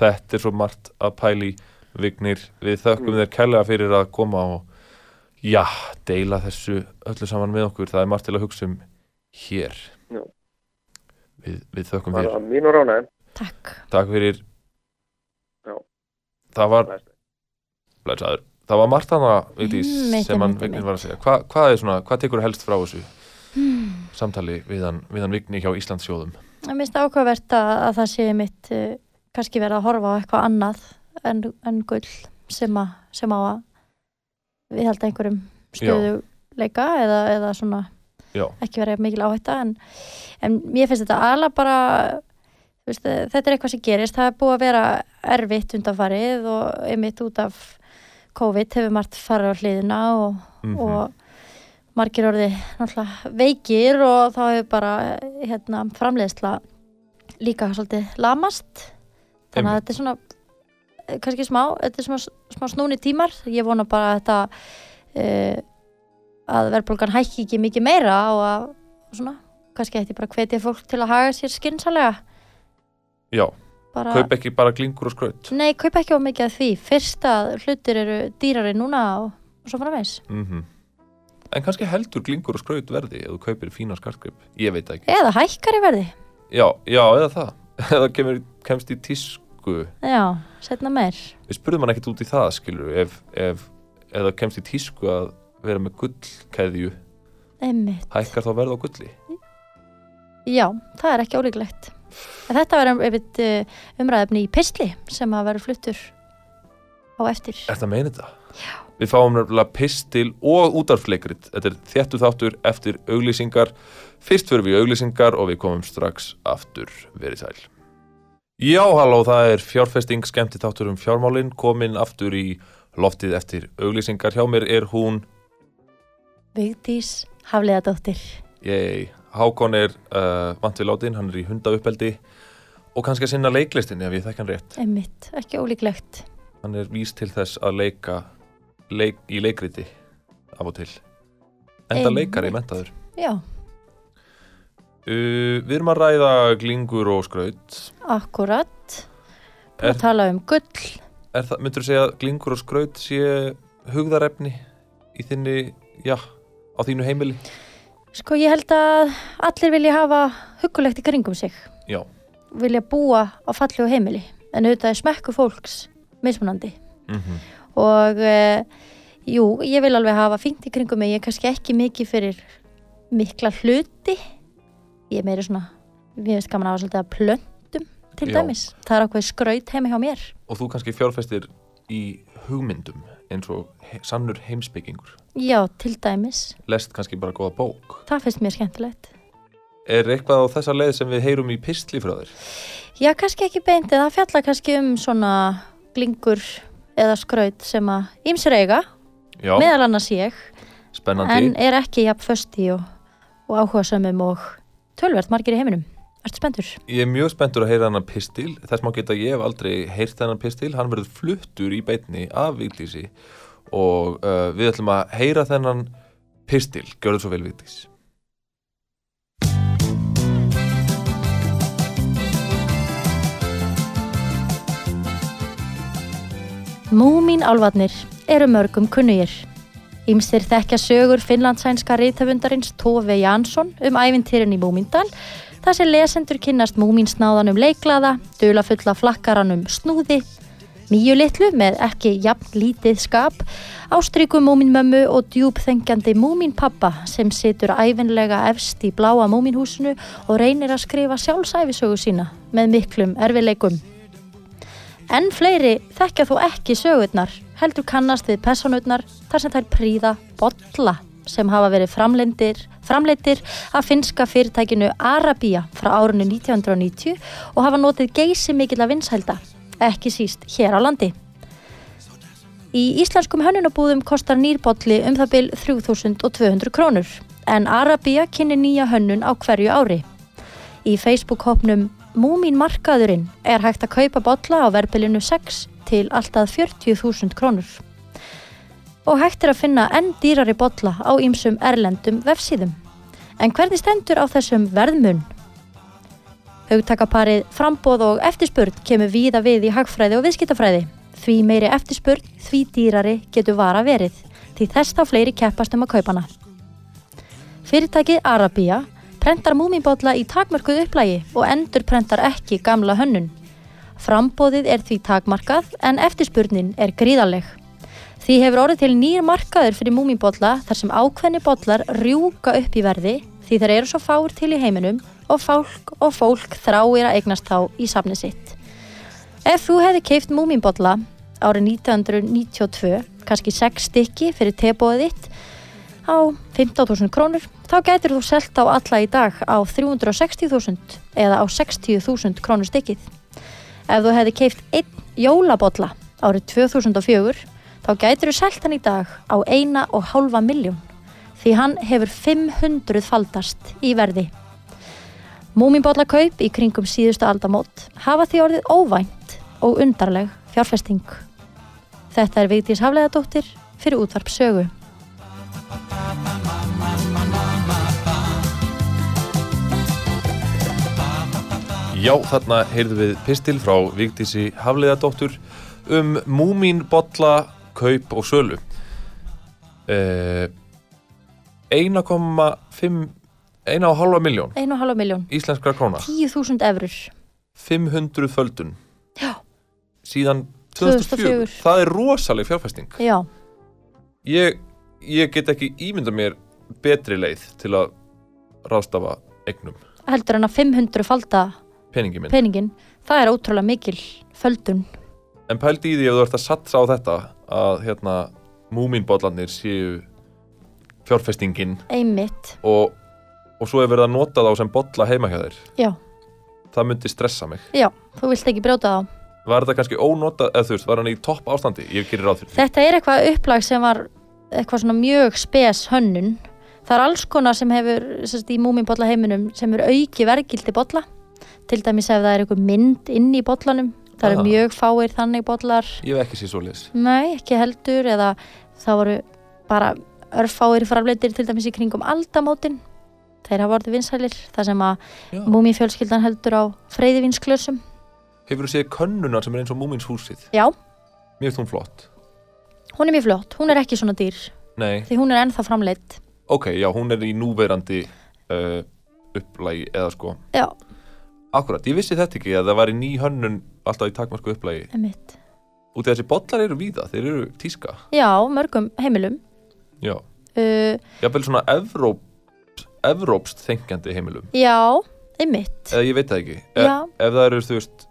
Speaker 3: Þetta er svo margt að pæli vignir, við þökkum þér kærlega fyrir að koma og já, deila þessu öllu saman með okkur, það er margt til að hugsa um hér
Speaker 6: Já.
Speaker 3: við, við þökkum
Speaker 6: Það
Speaker 3: þér
Speaker 6: er að mínu ránaðin.
Speaker 4: takk
Speaker 3: Takk fyrir
Speaker 6: Já.
Speaker 3: Það var Blæsaður. Það var margt hana Vigdís,
Speaker 4: Einmitt,
Speaker 3: sem hann
Speaker 4: einmitt,
Speaker 3: Vignir
Speaker 4: einmitt.
Speaker 3: var að segja Hva, Hvað er svona, hvað tekur helst frá þessu
Speaker 4: Hmm.
Speaker 3: samtali við hann, við hann Vigni hjá Íslandsjóðum
Speaker 4: Mér finnst ákveðvert að, að það sé mitt uh, kannski verið að horfa á eitthvað annað en, en gull sem, að, sem á að við held einhverjum stöðuleika eða, eða svona
Speaker 3: Já.
Speaker 4: ekki verið mikil áhætta en, en mér finnst þetta alveg bara þú veist, eh, þetta er eitthvað sem gerist það er búið að vera erfitt undanfarið og einmitt út af COVID hefur margt farið á hliðina og,
Speaker 3: mm
Speaker 4: og margir orði náttúrulega veikir og þá hefur bara hérna, framleiðsla líka svolítið lamast þannig að
Speaker 3: Einmitt.
Speaker 4: þetta er svona eh, kannski smá, þetta er smá, smá snúni tímar ég vona bara að þetta uh, að verðbólgan hækki ekki mikið meira og að svona, kannski ætti ég bara að hvetja fólk til að haga sér skynsalega
Speaker 3: Já,
Speaker 4: bara,
Speaker 3: kaup e- ekki bara glingur og skraut
Speaker 4: nei, kaupa ekki á mikið af því fyrst að hlutir eru dýrari núna og, og svo framvegs
Speaker 3: Mhm. En kannski heldur glingur og skraut verði ef þú kaupir fína skartgrip Ég veit það ekki
Speaker 4: eða hækkar í verði,
Speaker 3: Já, já, eða það Eða kemur, kemst í tísku
Speaker 4: já, setna meir
Speaker 3: Við spurðum hann ekkert út í það, skilur ef, ef, ef það kemst í tísku að vera með gullkeðju
Speaker 4: einmitt,
Speaker 3: Hækkar þá verð á gulli
Speaker 4: já, það er ekki ólíklegt en þetta verður einmitt uh, umræðefni í pistli sem að verður fluttur á eftir
Speaker 3: Er það meina þetta? Já. Við fáum nefnilega pistil og útarfleikrit. Þetta er þéttu þáttur eftir auglýsingar. Fyrst fyrir við í auglýsingar og við komum strax aftur verið sæl. Já, halló, það er fjárfesting skemmti þáttur um fjármálin, komin aftur í loftið eftir auglýsingar. Hjá mér er hún,
Speaker 4: Vigdís Hafliðadóttir
Speaker 3: ég, Hákon er uh, vant við látin, hann er í hundauppeldi og kannski að sinna leiklistinni ef ég þekk hann rétt.
Speaker 4: einmitt, ekki ólíklegt
Speaker 3: hann er vís til þess að leika leik, í leikriti af og til enda
Speaker 4: Einmitt.
Speaker 3: leikari mentaður
Speaker 4: já,
Speaker 3: uh, við erum að ræða glingur og skraut
Speaker 4: akkurat Búin
Speaker 3: Er-
Speaker 4: að tala um gull
Speaker 3: er það, myndur þú segja að glingur og skraut sé hugðarefni í þinni, já, á þínu heimili
Speaker 4: sko ég held að allir vilja hafa huggulegt í kringum sig
Speaker 3: já,
Speaker 4: vilja búa á fallegu heimili en auðvitað er smekku fólks mismunandi
Speaker 3: mm
Speaker 4: Mhm. og uh, jú, ég vil alveg hafa fínt í kringum mig, ég er kannski ekki mikið fyrir mikla hluti ég er meira svona ég veist gaman að hafa svolítið að plöntum til
Speaker 3: Já.
Speaker 4: dæmis, það er ákveð skraut heimi hjá mér
Speaker 3: og þú kannski fjárfestir í hugmyndum eins og he sannur heimsbyggingur
Speaker 4: já, til dæmis,
Speaker 3: lest kannski bara góða bók
Speaker 4: það finnst mér skemmtilegt
Speaker 3: er eitthvað á þessa leið sem við heyrum í pistli frá þér
Speaker 4: já, kannski ekki beint, en það fjalla kannski um svona glingur eða skraut sem að ýmsir eiga,
Speaker 3: já,
Speaker 4: meðal annars ég
Speaker 3: spennandi
Speaker 4: en er ekki jafn föst í og, og áhuga samum og tölvert margir í heiminum Ertu spenntur?
Speaker 3: Ég er mjög spenntur að heyra hennar pistil þess má geta að ég hef aldrei heyrt hennar pistil hann verður fluttur í beitni af Vigdísi og uh, við ætlum að heyra þennan pistil gjörðu svo vel Vigdís
Speaker 4: Múmin álvarnir eru mörgum kunnugir. Ímsir þekkja sögur finlandsænska reytafundarins Tove Jansson um ævintýrin í Múmindal, þar sem lesendur kynnast Múminsnáðanum leiklaða, dulafulla flakkaranum Snúði, nýju litlu með ekki jafn lítið skap, ástrykum Múminmömmu og djúpþengjandi Múminpappa sem situr ævinlega efst í bláa Múminhúsinu og reynir að skrifa sjálfsæfisögu sína með miklum erfileikum. En fleiri þekkja þó ekki sögurnar, heldur kannast við personurnar þar sem þær príða bolla sem hafa verið framlendir, framleitir af finska fyrirtækinu Arabia frá árinu 1990 og hafa notið geysi mikilla vinsælda, ekki síst hér á landi. Í íslenskum hönnunabúðum kostar nýrbólli um það bil 3200 krónur, en Arabia kynni nýja hönnun á hverju ári. Í Facebook-hópnum Múmin markaðurinn er hægt að kaupa bolla á verbilinu 6 til alltaf 40.000 krónur. Og hægt er að finna enn dýrari bolla á ýmsum erlendum vefsíðum. En hvernig stendur á þessum verðmun? Haugtakaparið frambóð og eftirspurn kemur víða við í hagfræði og viðskiptafræði. Því meiri eftirspurn, því dýrari getur vara verið, því þess þá fleiri keppast um að kaupa hana. Fyrirtækið Arabia prentar múmibólla í takmörkuð upplægi og endur prentar ekki gamla hönnun. Frambóðið er því takmarkað en eftirspurnin er gríðaleg. Því hefur orðið til nýjir markaður fyrir múmibólla þar sem ákveðni bollar rjúka upp í verði því þeir eru svo fáir til í heiminum og fólk og fólk þráir að eignast þá í safni sitt. Ef þú hefði keift múmibólla árið 1992, kannski 6 stykki fyrir tebóðið þitt, á 15.000 krónur, þá gætir þú selt á alla í dag á 360.000 eða á 60.000 krónur stykkið. Ef þú hefði keift einn jólabolla árið 2004, þá gætir þú selt hann í dag á eina og hálfa miljón, því hann hefur 500 faldast í verði. Múminbollakaup í kringum síðustu aldamót hafa því orðið óvænt og undarleg fjárfesting. Þetta er Vigdís Hafleðadóttir fyrir útvarp sögu.
Speaker 3: Já, þarna heyrðum við pistil frá Vigdísi Hafliðadóttur um múmínbolla, kaup og sölu. Eh, 1,5 1,5 miljón
Speaker 4: 1,5 miljón,
Speaker 3: íslenskra króna
Speaker 4: 10.000 eurur.
Speaker 3: 500 földun
Speaker 4: Já.
Speaker 3: síðan 2004.
Speaker 4: 2004.
Speaker 3: Það er rosaleg fjárfæsting.
Speaker 4: Já,
Speaker 3: Ég, ég get ekki ímynda mér betri leið til að ráðstafa eignum
Speaker 4: heldur hann að 500 falda
Speaker 3: peningi minn.
Speaker 4: peningin, það er ótrúlega mikil földun.
Speaker 3: En pældi í því ef þú ert að satsa á þetta að hérna múminbollarnir séu fjárfestingin
Speaker 4: Einmitt,
Speaker 3: og, og svo er verið að nota þá sem bolla heima hjá þér.
Speaker 4: já,
Speaker 3: Það myndi stressa mig.
Speaker 4: já, þú vilt ekki brjóta þá.
Speaker 3: Var þetta kannski ónotað, eða þú veist, var hann í topp ástandi? Ég gerir ráð fyrir því.
Speaker 4: Þetta er eitthvað upplag sem var eitthvað svona mjög spes hönnun. Það er alls konar sem hefur sérst, í múminbolla heiminum sem er auki vergildi bolla. Til dæmis ef það er einhver mynd inn í bollanum. Það
Speaker 3: Ah.
Speaker 4: eru mjög fáir þannig bollar.
Speaker 3: Ég hef ekki séð svo liðs.
Speaker 4: Nei, ekki heldur eða það voru bara örfáir framleitir til dæmis í kringum aldamótin. Þeir hafa orðið vinsælir þar sem
Speaker 3: Mm.
Speaker 4: að múmifjölskyldan heldur á freyðivinsklösum.
Speaker 3: Hefur þú séð könnuna sem er eins og múminshúsið?
Speaker 4: Já,
Speaker 3: Mér finnst hún flott.
Speaker 4: hún er mjög flott. Hún er ekki svona dýr
Speaker 3: Nei,
Speaker 4: því hún er ennþá framleitt.
Speaker 3: ok, já, hún er í núverandi uh, upplægi eða sko.
Speaker 4: Já,
Speaker 3: Akkurat, ég vissi þetta ekki að það var í ný hönnun alltaf í takmarku upplægi.
Speaker 4: emitt.
Speaker 3: Út af þessi bollar eru víða, þeir eru tíska.
Speaker 4: Já, mörgum heimilum.
Speaker 3: Já.
Speaker 4: Uh,
Speaker 3: Jafnvel svona evróp, evrópst þengjandi heimilum.
Speaker 4: já, einmitt.
Speaker 3: Eða ég veit það ekki. E
Speaker 4: Já.
Speaker 3: Ef það eru, þú veist,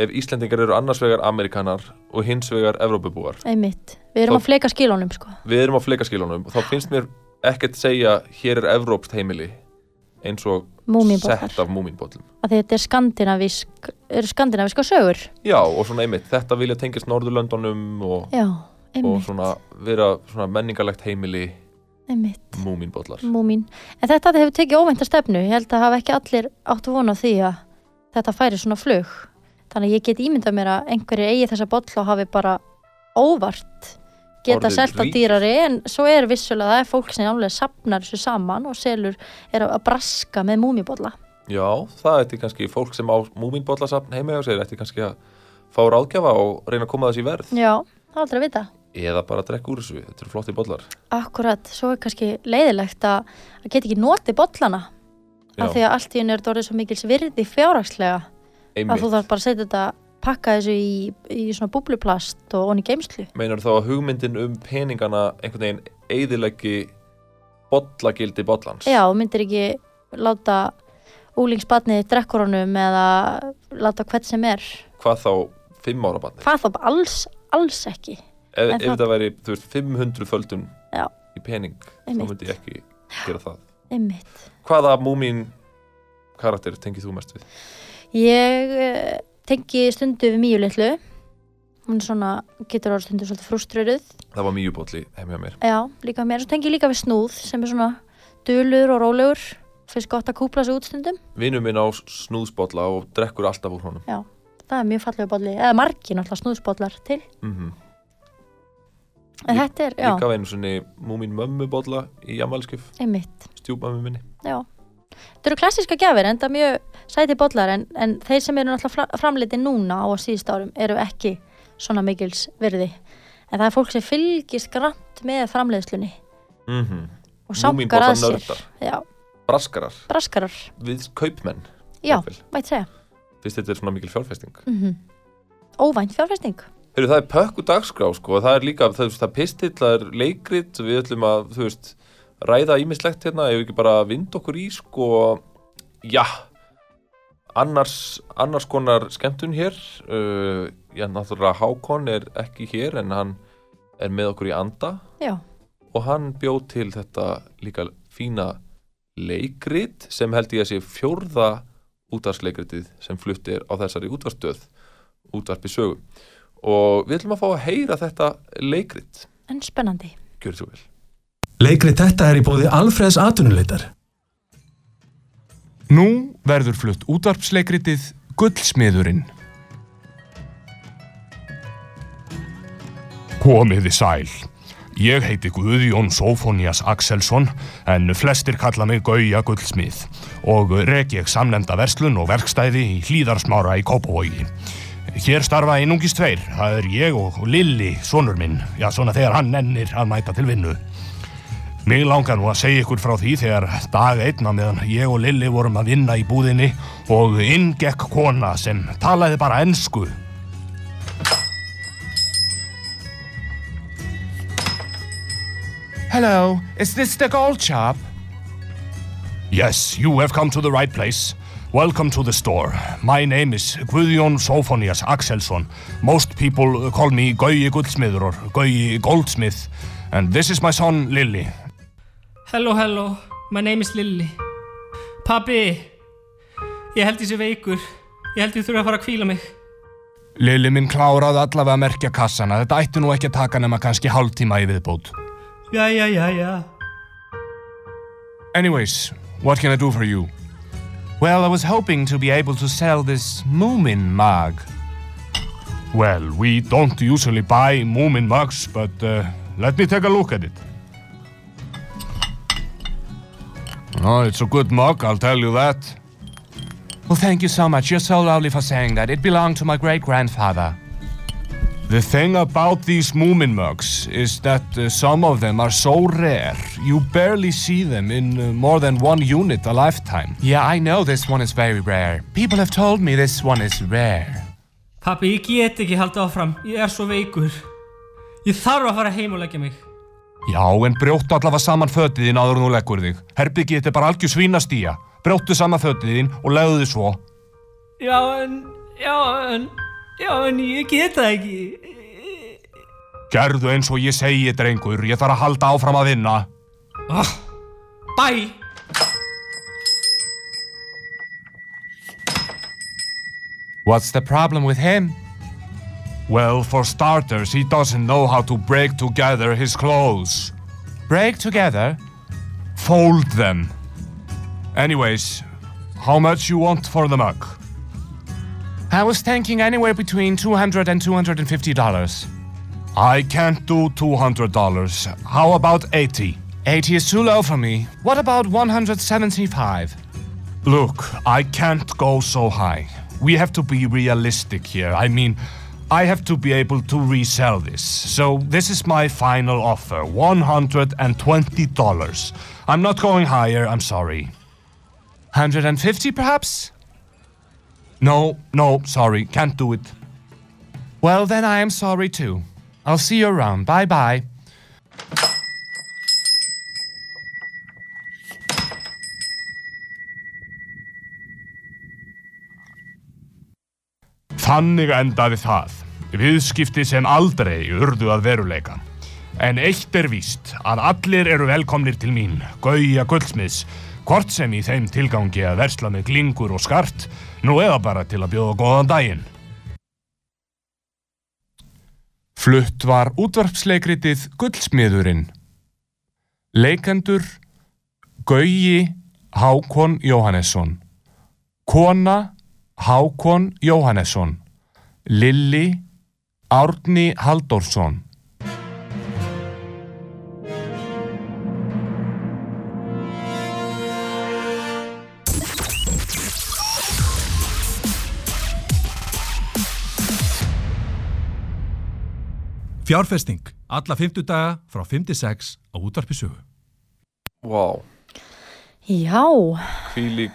Speaker 3: ef Íslendingar eru annars vegar Amerikanar og hins vegar Evrópubúar.
Speaker 4: Einmitt. Við erum
Speaker 3: Þá-
Speaker 4: að fleka skilunum, sko.
Speaker 3: Við erum á fleikaskilunum og þá finnst mér ekkert segja hér er Evrópst heimili eins og
Speaker 4: Múmínbollar.
Speaker 3: sett af múminbollum.
Speaker 4: Að þetta er skandinavísk, er skandinavíska sögur.
Speaker 3: Já, og svona einmitt, þetta vilja tengjast Norðurlöndunum og,
Speaker 4: Já,
Speaker 3: og
Speaker 4: einmitt,
Speaker 3: svona vera svona menningarlegt heimili
Speaker 4: einmitt.
Speaker 3: múminbollar.
Speaker 4: Múmin. En þetta hefur tekið óvænta stefnu. Ég held að hafa ekki allir áttu vona því að þetta færi svona flug. Þannig að ég get ímyndað mér að einhverjir eigi þessa boll og hafi bara óvart geta
Speaker 3: Orðið
Speaker 4: selt að
Speaker 3: ríkir.
Speaker 4: dýrari en svo er vissulega að það er fólk sem álega sapnar þessu saman og selur er að að braska með múmibolla.
Speaker 3: Já, það ætti kannski fólk sem á múminbollasafn heima hjá sér, ætti kannski að fá ráðgjafa og reyna að koma þessi í verð.
Speaker 4: Já, það er aldrei að vita.
Speaker 3: Eða bara að drekka úr þessu, þetta eru flotti bollar.
Speaker 4: Akkurat, svo er kannski leiðilegt að, að geta ekki notið bollana
Speaker 3: Já,
Speaker 4: af því að allt í henni er þetta orðið svo mikils virði fjárhagslega að þú
Speaker 3: einmitt.
Speaker 4: þarf bara að setja þetta pakka þessu í, í svona búbluplast og onni geimslu.
Speaker 3: Meinar þá að hugmyndin um peningana einhvern veginn eigðilegi bollagildi bollans?
Speaker 4: Já, þú myndir ekki láta úlingsbatnið drekkur honum eða láta hvert sem er.
Speaker 3: Hvað þá fimm ára barni?
Speaker 4: Hvað þá bara alls, alls ekki.
Speaker 3: Ef,
Speaker 4: En
Speaker 3: ef
Speaker 4: það-
Speaker 3: það væri, þú veist, 500 földun
Speaker 4: Já.
Speaker 3: í pening,
Speaker 4: Einmitt.
Speaker 3: þá myndi ég ekki gera það.
Speaker 4: Einmitt.
Speaker 3: Hvaða múmin karakter tengið þú mest við?
Speaker 4: Ég eh, tengi stundu við mjög litlu. Hún er svona, getur orðið stundu svolítið frúströruð
Speaker 3: Það var mjög bólli heim hjá mér.
Speaker 4: Já, líka mér. Svo tengi ég líka við snúð sem er svona dulur og rólegur. Fyrst gott að kúpla sig útstundum.
Speaker 3: Vinur minn á snúðsbolla og drekkur alltaf úr honum.
Speaker 4: Það er mjög fallega bolli. Eða margir náttúrulega snúðsbollar til.
Speaker 3: Mm -hmm.
Speaker 4: En
Speaker 3: Ég-
Speaker 4: þetta er, já,
Speaker 3: Líka af einu svona múmin mömmu bolla í jamalskjöf,
Speaker 4: einmitt.
Speaker 3: stjúpmömmu minni.
Speaker 4: Já. Þetta eru klassíska gjafir en það er mjög sæti bollar en, en þeir sem eru náttúrulega framleiti núna á síðust árum eru ekki svona mikils virði. En það er fólk sem fylgist grannt með framleiðslunni
Speaker 3: Mm -hmm.
Speaker 4: og samkar að sér.
Speaker 3: Múmínbollanördar.
Speaker 4: Já,
Speaker 3: Braskarar,
Speaker 4: braskarar.
Speaker 3: við kaupmenn.
Speaker 4: Já,
Speaker 3: jafnvel.
Speaker 4: mætt segja.
Speaker 3: Fyrst þetta er svona mikil fjárfesting.
Speaker 4: Mm Óvænt fjárfesting.
Speaker 3: Heyrðu, það er pökku dagskrá sko, það er líka, það, þú veist, það er pistill, það er leikrit, við ætlum að, þú veist, ræða ímislegt hérna, ef við ekki bara vind okkur í sko, já, annars, annars konar skemmtun hér, uh, já, náttúrulega Hákon er ekki hér en hann er með okkur í anda
Speaker 4: Já,
Speaker 3: og hann bjóð til þetta líka fína leikrit sem held ég að sé fjórða útvarsleikritið sem flutti er á þessari útvarsstöð útvarpi sögu og við ætlum að fá að heyra þetta leikrit
Speaker 4: en spennandi.
Speaker 3: gjörðu svo vel
Speaker 7: Leikrið þetta er í bóði Alfreðs atvinnuleitar.
Speaker 8: Nú verður flutt útvarpsleikritið Gullsmiðurinn. Komiði sæl. Ég heiti Guðjón Sófónías Axelsson en flestir kalla mig Gauja Gullsmið og rek ég samnefnda verslun og verkstæði í hlýðarsmára í Kópavogi. Hér starfa einungis tveir, það er ég og Lilli, sonur minn, já svona þegar hann nennir að mæta til vinnu. Mig langar nú að segja ykkur frá því þegar dag einna meðan ég og Lilli vorum að vinna í búðinni og inn gekk kona sem talaði bara ensku
Speaker 9: Hello, is this the gold shop?
Speaker 8: Yes, you have come to the right place. Welcome to the store. My name is Guðjón Sófónías Axelsson. Most people call me Gauji Guldsmiður or Gauji Goldsmith. And this is my son, Lilly.
Speaker 10: Hello, hello, my name is Lilly Pappi, ég held ég sé veikur Ég held ég þurfa að fara að kvíla mig
Speaker 8: Lilly minn kláraði allavega að merkja kassana. Þetta ætti nú ekki að taka nema kannski hálftíma í viðbót.
Speaker 10: Jæja, jæja
Speaker 8: Anyways, what can I do for you?
Speaker 9: Well, I was hoping to be able to sell this Moomin mug.
Speaker 8: Well, we don't usually buy Moomin mugs, but uh, let me take a look at it. Oh, it's a good mug, I'll tell you that.
Speaker 9: Well, thank you so much. You're so lovely for saying that. It belonged to my great grandfather.
Speaker 8: The thing about these Moomin mugs is that uh, some of them are so rare, you barely see them in uh, more than one unit a lifetime.
Speaker 9: Yeah, I know this one is very rare. People have told me this one is rare.
Speaker 10: Pappi, ég get ekki halda áfram Ég er svo veikur Ég þarf að fara heim og leggja mig
Speaker 8: Já, en brjóttu allavega saman fötiðin áður en þú leggur þig. Herbyggið þetta er bara algjör svínastía. Brjóttu saman fötiðin og legðu þið svo.
Speaker 10: Já, en, já, en Já, en ég get það ekki
Speaker 8: Gerðu eins og ég segi, drengur. Ég þarf að halda áfram að vinna.
Speaker 10: oh, Bye
Speaker 9: What's the problem with him?
Speaker 8: Well, for starters, he doesn't know how to break together his clothes.
Speaker 9: Break together?
Speaker 8: Fold them. Anyways, how much you want for the mug?
Speaker 9: I was thinking anywhere between 200 and 250 dollars.
Speaker 8: I can't do $200. How about 80?
Speaker 9: 80 is too low for me. What about 175?
Speaker 8: Look, I can't go so high. We have to be realistic here. I mean, I have to be able to resell this. So, this is my final offer $120. I'm not going higher, I'm sorry.
Speaker 9: 150 perhaps?
Speaker 8: No, no, sorry, can't do it.
Speaker 9: Well, then I am sorry too. I'll see you around. Bye bye.
Speaker 8: Þannig endaði það. Viðskipti sem aldrei urðu að veruleika. En eitt er víst að allir eru velkomnir til mín, Gauja Guldsmiðs, hvort sem í þeim tilgangi að versla með glingur og skart, nú eða bara til að bjóða góðan daginn.
Speaker 9: Flutt var útvarpsleikritið Gullsmiðurinn. Leikendur Gauji Hákon Jóhannesson. Kona Hákon Jóhannesson. Lilli Árni Halldórsson.
Speaker 1: Fjárfesting, alla 50 daga frá 56 á útvarpisögu.
Speaker 3: Vá,
Speaker 4: Já,
Speaker 3: hvílík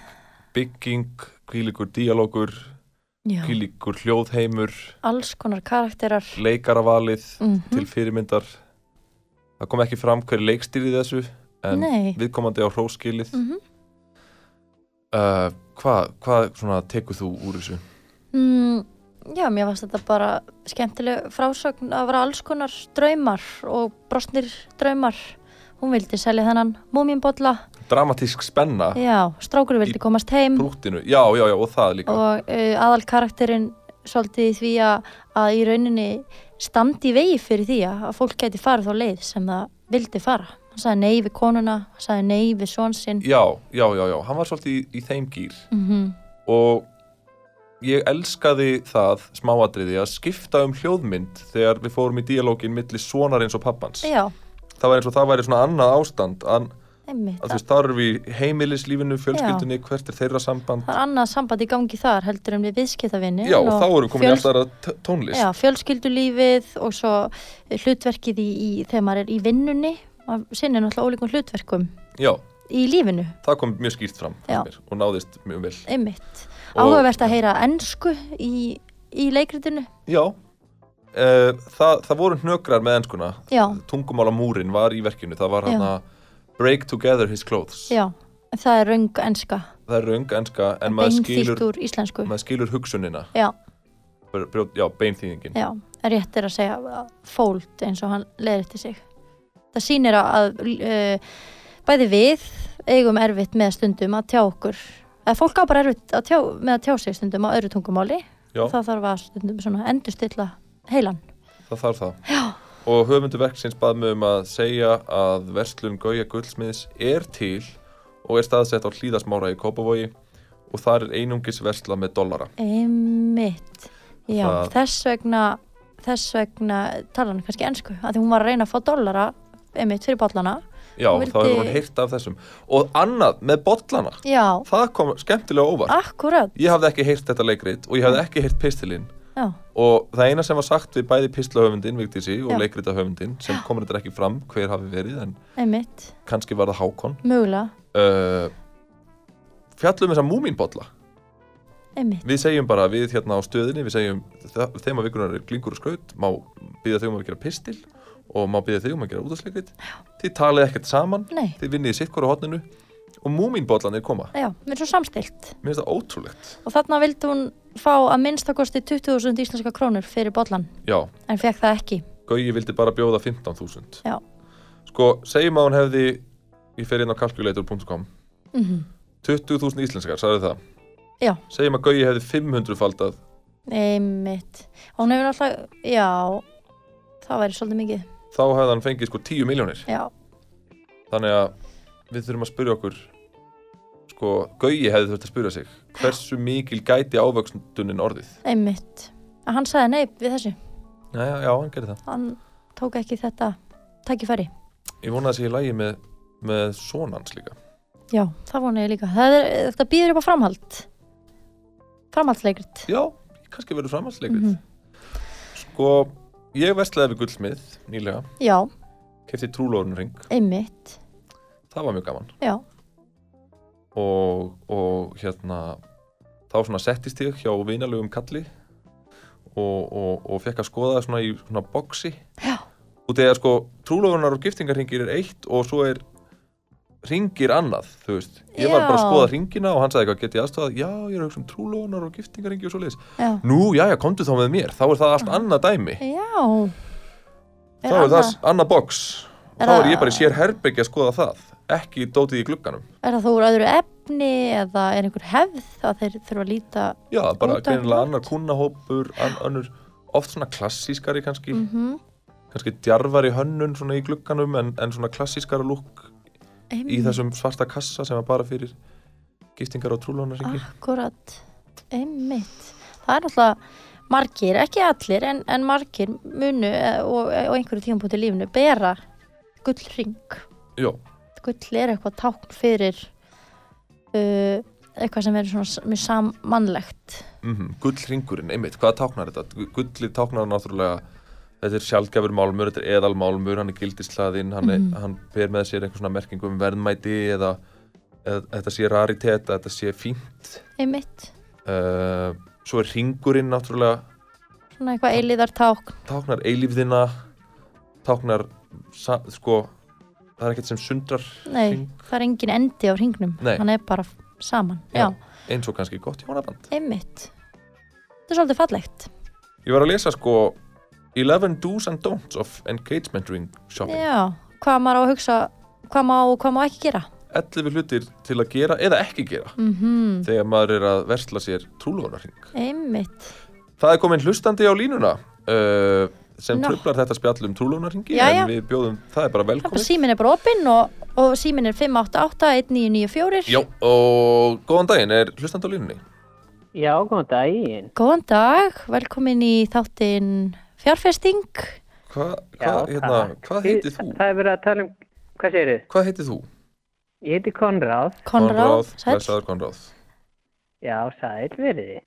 Speaker 3: bygging, hvílíkur díalókur,
Speaker 4: já,
Speaker 3: hvílíkur hljóðheimur,
Speaker 4: alls konar karakterar
Speaker 3: leikaravalið
Speaker 4: Mhm.
Speaker 3: til fyrirmyndar. Það kom ekki fram hver leikstýrið þessu, en
Speaker 4: Nei.
Speaker 3: viðkomandi á hróskilið. Mm
Speaker 4: Mhm.
Speaker 3: uh, hvað, hvað svona tekur þú úr þessu?
Speaker 4: mm, Já, mér varst þetta bara skemmtileg frásögn að vera alls konar draumar og brostnir draumar Hún vildi selja þennan múmínbolla
Speaker 3: Dramatísk spenna,
Speaker 4: Já, strákur vildi komast heim
Speaker 3: brúttinu, já, já, já, og það líka.
Speaker 4: og uh, aðal karakterinn svolítið í því að, að í rauninni standi í vegi fyrir því að að fólk geti farið þá leið sem það vildi fara. Hann sagði nei við konuna, hann sagði nei við svonsinn. Mhm.
Speaker 3: Já, já, já, já, hann var svolítið í, í þeim gýr
Speaker 4: Mm
Speaker 3: og ég elskaði það smáatriði að skipta um hljóðmynd þegar við fórum í díalógin milli sonar eins og pappans
Speaker 4: Já,
Speaker 3: það var eins og það væri svona annað ástand an,
Speaker 4: einmitt.
Speaker 3: að þú veist, þar eru við í heimilislífinu, fjölskyldunni, hvert er þeirra samband
Speaker 4: Það er annað samband í gangi þar heldur en við viðskiptavinni.
Speaker 3: já, og þá erum við komin í alltaf aðra t- tónlist
Speaker 4: Já, fjölskyldulífið og svo hlutverkið í, í þegar maður er í vinnunni. Maður sinnir náttúrulega ólíkum hlutverkum
Speaker 3: Já,
Speaker 4: í lífinu,
Speaker 3: það kom mjög skýrt fram
Speaker 4: Já.
Speaker 3: mér, og náðist mjög vel
Speaker 4: einmitt.
Speaker 3: Og-
Speaker 4: Áhugavert að heyra ennsku í, í leikritinu.
Speaker 3: já, uh, það, það voru hnökrar með enskuna
Speaker 4: Já,
Speaker 3: tungumálamúrin var í verkinu það var
Speaker 4: Já.
Speaker 3: hann break together his clothes
Speaker 4: já, en það er röng ennska.
Speaker 3: það er röng enska en maður skilur,
Speaker 4: Beinþýtt úr íslensku.
Speaker 3: maður skilur hugsunina
Speaker 4: Já,
Speaker 3: Br- brjó- já, beinþýðingin
Speaker 4: já, en rétt er að segja fóld eins og hann leðir til sig. Það sýnir að, að uh, bæði við eigum erfitt með stundum að tjá okkur. Eða fólk á bara erfitt að tjá, með að tjá sig stundum á öðru tungumáli.
Speaker 3: Já.
Speaker 4: Það þarf að stundum svona endurstilla heilan.
Speaker 3: það þarf það já. og höfundu verksins bað mig um að segja að verslun Gauja Gullsmiðs er til og er staðsett á hlýðasmára í Kópavogi og þar er einungis versla með dollara
Speaker 4: Einmitt. Já,
Speaker 3: Það-
Speaker 4: þess vegna, þess vegna tala hann kannski ennsku. Því hún var að reyna að fá dollara, einmitt, fyrir bollana.
Speaker 3: já,
Speaker 4: Hún
Speaker 3: þá hefur
Speaker 4: vildi-
Speaker 3: hún heyrt af þessum og annað með bollana
Speaker 4: Já,
Speaker 3: það kom skemmtilega á óvart
Speaker 4: akkurat.
Speaker 3: ég hafði ekki heyrt þetta leikrit og ég hafði ekki heyrt pistilinn
Speaker 4: Já,
Speaker 3: og það eina sem var sagt við bæði pislahöfundin Vigdísi og
Speaker 4: Já.
Speaker 3: leikritahöfundin sem komur þetta ekki fram hver hafi verið en
Speaker 4: einmitt.
Speaker 3: kannski var það Hákon
Speaker 4: Mögulega,
Speaker 3: uh, fjallum þessa múminbolla
Speaker 4: einmitt.
Speaker 3: við segjum bara við hérna á stöðinni við segjum þe- þeim að vikunar er glingur og skraut má býða þau um að gera pistil og má býða þau um að gera útasleikrit þið talið ekkert saman
Speaker 4: Nei.
Speaker 3: þið vinnið sitt hvora hotninu og múminbollan er koma
Speaker 4: Já, mér er svo samstilt.
Speaker 3: mér finnst það ótrúlegt
Speaker 4: Og þarna vildi hún fá að minnstakosti 20.000 íslenska krónur fyrir bollan,
Speaker 3: já
Speaker 4: en fekk það ekki.
Speaker 3: Gauji vildi bara bjóða 15.000
Speaker 4: Já.
Speaker 3: Sko, segjum að hún hefði ég fer inn á calculator.com
Speaker 4: Mm
Speaker 3: 20.000 íslenskar, sagði það
Speaker 4: Já.
Speaker 3: Segjum að Gauji hefði 500 faldað
Speaker 4: Einmitt. Hún hefur náttúrulega, já, það væri svolítið mikið.
Speaker 3: þá hefði hann fengið sko 10 miljónir
Speaker 4: Já,
Speaker 3: þannig að við þurfum að spyrja okkur sko, Gauji hefði þurft að spyrja sig hversu mikil gæti ávöxtunnin orðið
Speaker 4: einmitt. Að hann sagði nei við þessu.
Speaker 3: Já, já, já, hann gerir það
Speaker 4: Hann tók ekki þetta tækifæri.
Speaker 3: Ég vona að það sé í lagi með, með sonans líka
Speaker 4: Já, það vona ég líka. Það er, þetta býður upp á framhald. Framhaldsleikrit.
Speaker 3: Já, kannski verður framhaldsleikrið
Speaker 4: Mhm.
Speaker 3: Sko, ég veslaði við gullsmið nýlega
Speaker 4: Já,
Speaker 3: kefti trúlóðunring,
Speaker 4: einmitt.
Speaker 3: það var mjög gaman
Speaker 4: Já,
Speaker 3: og, og hérna þá svona settist ég hjá vinalögum kalli og, og, og fekk að skoða það svona í svona boksi
Speaker 4: Já.
Speaker 3: og þegar sko trúlóðunar og giftingarringir er eitt og svo er ringir annað, þú veist ég var bara að
Speaker 4: Já.
Speaker 3: skoða ringina og hann sagði eitthvað get ég aðstofað, já ég er að hugsa um trúlóðunar og giftingarringi og svo leiðis,
Speaker 4: já.
Speaker 3: nú já já komdu þá með mér þá er það allt annað dæmi
Speaker 4: Já.
Speaker 3: þá er það s- annað boks og
Speaker 4: Er
Speaker 3: þá er
Speaker 4: það-
Speaker 3: ég bara í sér herbergi að skoða það ekki dótið í glugganum
Speaker 4: Er það þá úr öðru efni eða er einhver hefð að þeir þurfa að líta
Speaker 3: Já, bara
Speaker 4: Ódæmið.
Speaker 3: greinilega annar kúnahópur, an, annur, oft svona klassískari kannski,
Speaker 4: mm
Speaker 3: kannski djarfari hönnun svona í glugganum en, en svona klassískara lúk
Speaker 4: Mm.
Speaker 3: í þessum svarta kassa sem var bara fyrir giftingar og trúlónaringi.
Speaker 4: Ah. Akkurat, einmitt Það er náttúrulega margir, ekki allir en, en margir munu eh, og, og einhverju tímpúti í lífinu bera gullring
Speaker 3: Já,
Speaker 4: Gull er eitthvað tákn fyrir uh, eitthvað sem er svona s- mjög sammannlegt
Speaker 3: mm gullringurinn, einmitt, hvað táknar þetta? Gu- Gullið táknar náttúrulega, þetta er sjálfgjafur málmur, þetta er eðalmálmur, hann er gildislaðinn, hann, mm
Speaker 4: Mhm.
Speaker 3: hann ber með sér einhver svona merkingu um verðmæti eða, eða þetta sé raritet, þetta sé fínt.
Speaker 4: Einmitt,
Speaker 3: Uh, svo er ringurinn náttúrulega
Speaker 4: svona eitthvað eilíðar tákn
Speaker 3: táknar eilífðina táknar sa- sko, það er ekkert sem sundrar
Speaker 4: Nei,
Speaker 3: Hring.
Speaker 4: það er engin endi á hringnum
Speaker 3: Nei.
Speaker 4: Hann er bara f- saman Já,
Speaker 3: eins og kannski gott hjónaband
Speaker 4: einmitt Þetta er svolítið fallegt
Speaker 3: ég var að lesa sko 11 do's and don'ts of engagement ring shopping
Speaker 4: Já, hvað maður á að hugsa hvað má og hvað má ekki gera
Speaker 3: 11 hlutir til að gera eða ekki gera
Speaker 4: mm
Speaker 3: þegar maður er að versla sér trúlónarring
Speaker 4: Einmitt
Speaker 3: það er komin hlustandi á línuna uh, sem
Speaker 4: Nó.
Speaker 3: tröflar þetta spjall um trúlónarringi en
Speaker 4: Jæja.
Speaker 3: við bjóðum, það er bara
Speaker 4: Það er bara
Speaker 3: velkomin
Speaker 4: símin er bara opinn og, og símin er 588 1994
Speaker 3: Já, og góðan daginn, er hlustandi á línunni?
Speaker 6: Já, góðan daginn.
Speaker 4: Góðan dag, velkomin í þáttinn fjárfesting.
Speaker 3: Hva,
Speaker 6: Já,
Speaker 3: hva, hérna,
Speaker 6: takk.
Speaker 3: hvað heitir þú?
Speaker 6: Það er verið að tala um, hvað segir þið?
Speaker 3: Hvað heitir þú?
Speaker 6: Ég heiti Konráð.
Speaker 3: Blessaður Konráð.
Speaker 6: Já, sæl verið þið.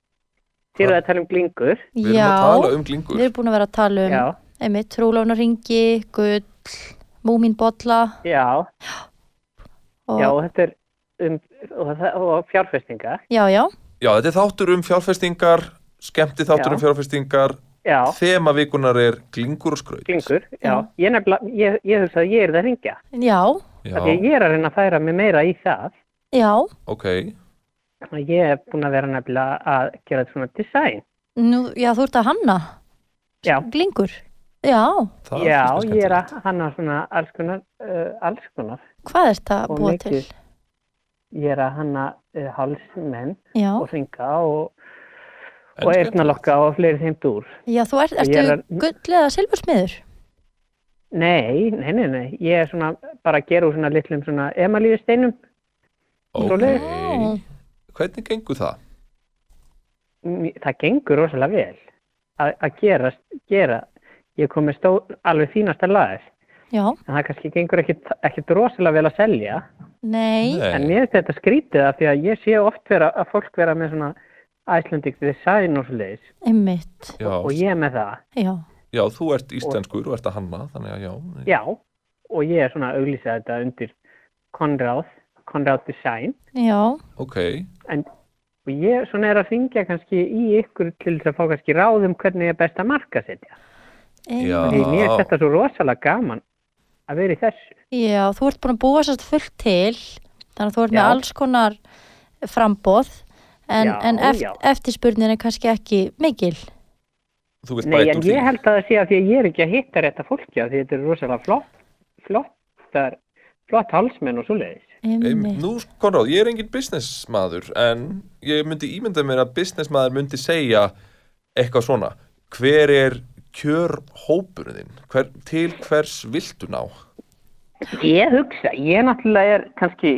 Speaker 6: Þið eru að tala um glingur.
Speaker 3: Við erum að tala um glingur.
Speaker 4: Við erum búin að vera að tala um,
Speaker 6: Já.
Speaker 4: einmitt, trúlónaringi, gull, múminbolla.
Speaker 6: Já.
Speaker 4: Og-
Speaker 6: Já, og þetta er um, og, það- og fjárfestinga.
Speaker 4: Já, já,
Speaker 3: Já, þetta er þáttur um fjárfestingar, skemmti þáttur
Speaker 6: Já.
Speaker 3: um fjárfestingar.
Speaker 6: Já.
Speaker 3: Þema vikunar er glingur og skraut.
Speaker 6: Glingur, já. Ég nefnilega, ég, ég hugsa að ég er það að ringja.
Speaker 4: já,
Speaker 3: Já,
Speaker 6: Því að ég er að reyna að færa mig meira í það.
Speaker 4: já,
Speaker 3: ok.
Speaker 6: Og Ég er búin að vera nefnilega að gera þetta svona design.
Speaker 4: nú, já, þú ert að hanna.
Speaker 6: Já.
Speaker 4: Glingur. Já,
Speaker 6: já, ég er að hanna svona alls konar, uh, alls konar.
Speaker 4: hvað ert að
Speaker 6: Og
Speaker 4: búa til?
Speaker 6: mikið. Ég er að hanna uh, hálsmenn
Speaker 4: Já.
Speaker 6: og ringa og, og hérna eirnalokka og fleiri þeim dúr.
Speaker 4: Já, þú ert,
Speaker 6: Og ég
Speaker 4: ertu
Speaker 6: er
Speaker 4: er
Speaker 6: að-
Speaker 4: gull eða silfursmiður?
Speaker 6: Nei, nei, nei, nei. Ég er svona bara að gera úr svona litlum svona emalíusteinum. Svoleiðis.
Speaker 3: Ok. Hvernig gengur það?
Speaker 6: Mm, það gengur rosalega vel að að gera, gera ég kom með stó, alveg þínasta laðir
Speaker 4: Já,
Speaker 6: en það kannski gengur ekkit, ekkit rosalega vel að selja
Speaker 4: nei,
Speaker 6: en mér finnst þetta skrítið af því að ég sé oft vera, að fólk vera með svona Icelandic design og svoleiðis
Speaker 4: einmitt,
Speaker 3: Já,
Speaker 6: og ég er með það,
Speaker 4: já,
Speaker 3: já, þú ert íslenskur og ert að hanna, þannig að já.
Speaker 6: já og ég er svona að auglýsa þetta undir Conrad, Conrad Design
Speaker 4: já,
Speaker 3: Ok,
Speaker 6: en og ég svona er að hringja kannski í ykkur til þess að fá kannski ráðum hvernig er best að marka setja
Speaker 3: já.
Speaker 6: Því mér er þetta svo rosalega gaman að vera í þessu.
Speaker 4: já, þú ert búin að búa sérst fullt til, þannig að þú ert
Speaker 6: Já.
Speaker 4: með alls konar frambóð, en,
Speaker 6: Já,
Speaker 4: en eft,
Speaker 6: já.
Speaker 4: eftirspurnin er kannski ekki mikil.
Speaker 3: Þú vilt
Speaker 6: Nei,
Speaker 3: bæta
Speaker 6: en
Speaker 3: úr því.
Speaker 6: ég held að það sé að því að ég er ekki að hitta rétta fólki að því þetta er rosalega flott, flottar, flott halsmenn og svoleiðis.
Speaker 3: Em, Nú, Konráð, ég er engin businessmaður en ég myndi ímynda mér að businessmaður myndi segja eitthvað svona hver er kjörhópurinn hver, til hvers viltu ná
Speaker 6: Ég hugsa, ég náttúrulega er kannski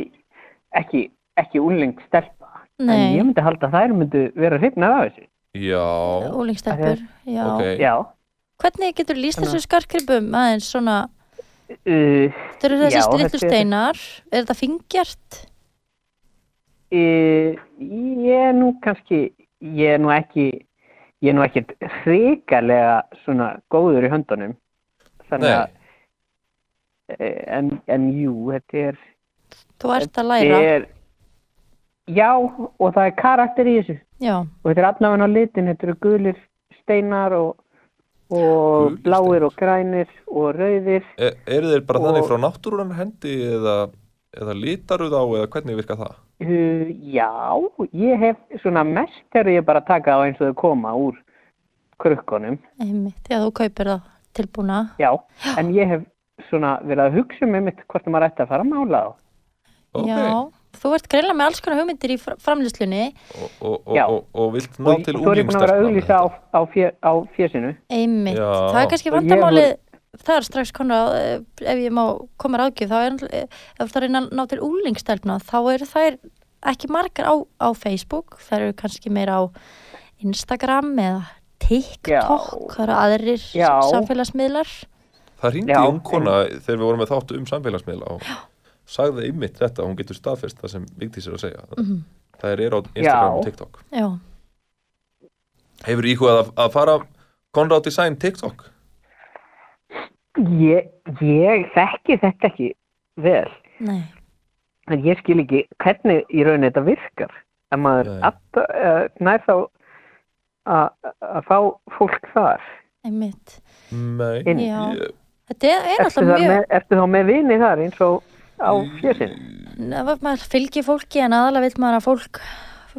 Speaker 6: ekki, ekki úlengt stelpa. En
Speaker 4: Nei.
Speaker 6: ég myndi halda að þær myndu vera hrifnað af þessu.
Speaker 3: Já,
Speaker 4: Úlingstelpur, já.
Speaker 3: Ok.
Speaker 6: Já.
Speaker 4: Hvernig getur lýst
Speaker 6: Þannig að-
Speaker 4: þessu skarkripum aðeins svona,
Speaker 6: Uh,
Speaker 4: þau eru þessi
Speaker 6: já, þetta er-
Speaker 4: litlu steinar, er þetta fingjart?
Speaker 6: Uh, ég er nú kannski, ég er nú ekki, ég er nú ekki hrikalega svona góður í höndunum. Þannig að, Eh, en, en jú, þetta er...
Speaker 4: Þú ert að
Speaker 6: þetta
Speaker 4: læra,
Speaker 6: Er, já, og það er karakter í þessu.
Speaker 4: já,
Speaker 6: Og þetta er allavega á litin, þetta eru gulir steinar og, og
Speaker 3: Gulir
Speaker 6: bláir og grænir og rauðir.
Speaker 3: e, eru þeir bara
Speaker 6: Og-
Speaker 3: þannig frá náttúrunar hendi eða, eða lítaru þá eða hvernig virka það
Speaker 6: Uh, já, ég hef svona mest þegar ég bara að taka á eins og þau koma úr krukkunum.
Speaker 4: einmitt, já, þú kaupir það tilbúna.
Speaker 6: Já, en ég hef svona verið að hugsa um einmitt hvort maður ætti að fara að mála þá.
Speaker 4: Já, þú ert greinlega með alls konar hugmyndir í fr- framleiðslunni,
Speaker 3: og, og, og,
Speaker 6: Já.
Speaker 3: og, og vilt ná
Speaker 6: Og
Speaker 3: til
Speaker 6: svo er ég búin að vera að
Speaker 3: úlingstelpna
Speaker 6: auglýsa á, á, fjö, á fjösinu.
Speaker 4: einmitt,
Speaker 3: Já.
Speaker 4: það er kannski
Speaker 6: Og ég
Speaker 4: vandamálið þar strax konar, ef ég má koma ráðgjöf, þá er, eh, ef það er að ná til úlingstelpna, þá eru þær ekki margar á, á Facebook, þær eru kannski meira á Instagram eða TikTok, það eru aðrir
Speaker 6: Já.
Speaker 4: samfélagsmiðlar.
Speaker 3: það ringdi
Speaker 6: Já,
Speaker 3: ung kona þegar við vorum með þáttu um samfélagsmiðla og sagði einmitt þetta hún getur staðfest það sem Vigdís er að segja
Speaker 4: Mhm.
Speaker 3: það er á Instagram og
Speaker 6: Já.
Speaker 3: TikTok
Speaker 4: Já,
Speaker 3: Hefur íhugað að, að fara Conrad Design TikTok?
Speaker 6: Ég, ég þekki þetta ekki vel.
Speaker 4: nei,
Speaker 6: En ég skil ekki hvernig í rauninni þetta virkar. En maður app, uh, nær þá að að fá fólk þar.
Speaker 4: einmitt.
Speaker 3: Nei.
Speaker 6: Inn.
Speaker 4: Já, þetta er, er
Speaker 6: Ertu,
Speaker 4: alltaf
Speaker 6: þar
Speaker 4: mjög...
Speaker 6: með, ertu þá með vini þar eins og á
Speaker 3: Mm.
Speaker 6: fjösinu?
Speaker 4: Ef maður fylgir fólki en aðalega vil maður að fólk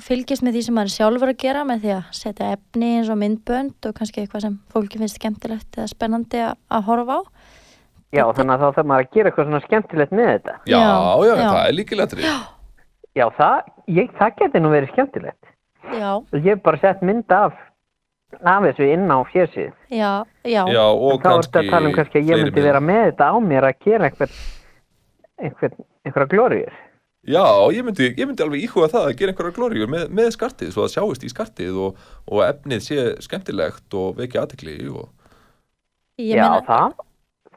Speaker 4: fylgist með því sem maður er sjálfur að gera með því að setja efni eins og myndbönd og kannski eitthvað sem fólki finnst skemmtilegt eða spennandi að, að horfa á.
Speaker 6: Já, þannig að þá þarf maður að gera eitthvað svona skemmtilegt með þetta.
Speaker 3: Já, já,
Speaker 4: já.
Speaker 3: það er líkilegri.
Speaker 6: Já, það, ég, það geti nú verið skemmtilegt.
Speaker 4: Já,
Speaker 6: Ég hef bara sett mynd af, af þessu inn á fjösið.
Speaker 4: já, já.
Speaker 3: Já, og
Speaker 6: Þá ertu að
Speaker 3: kannski
Speaker 6: tala um kannski að ég
Speaker 3: fleiri
Speaker 6: myndi vera með þetta á mér að gera einhver, einhver, einhverja glóriður.
Speaker 3: Já, ég myndi, ég myndi alveg íhuga það að gera einhverjar glóriur með, með skartið svo það sjáist í skartið og, og efnið sé skemmtilegt og vekja aðtekli og...
Speaker 4: Ég
Speaker 11: Já,
Speaker 4: meina,
Speaker 11: það,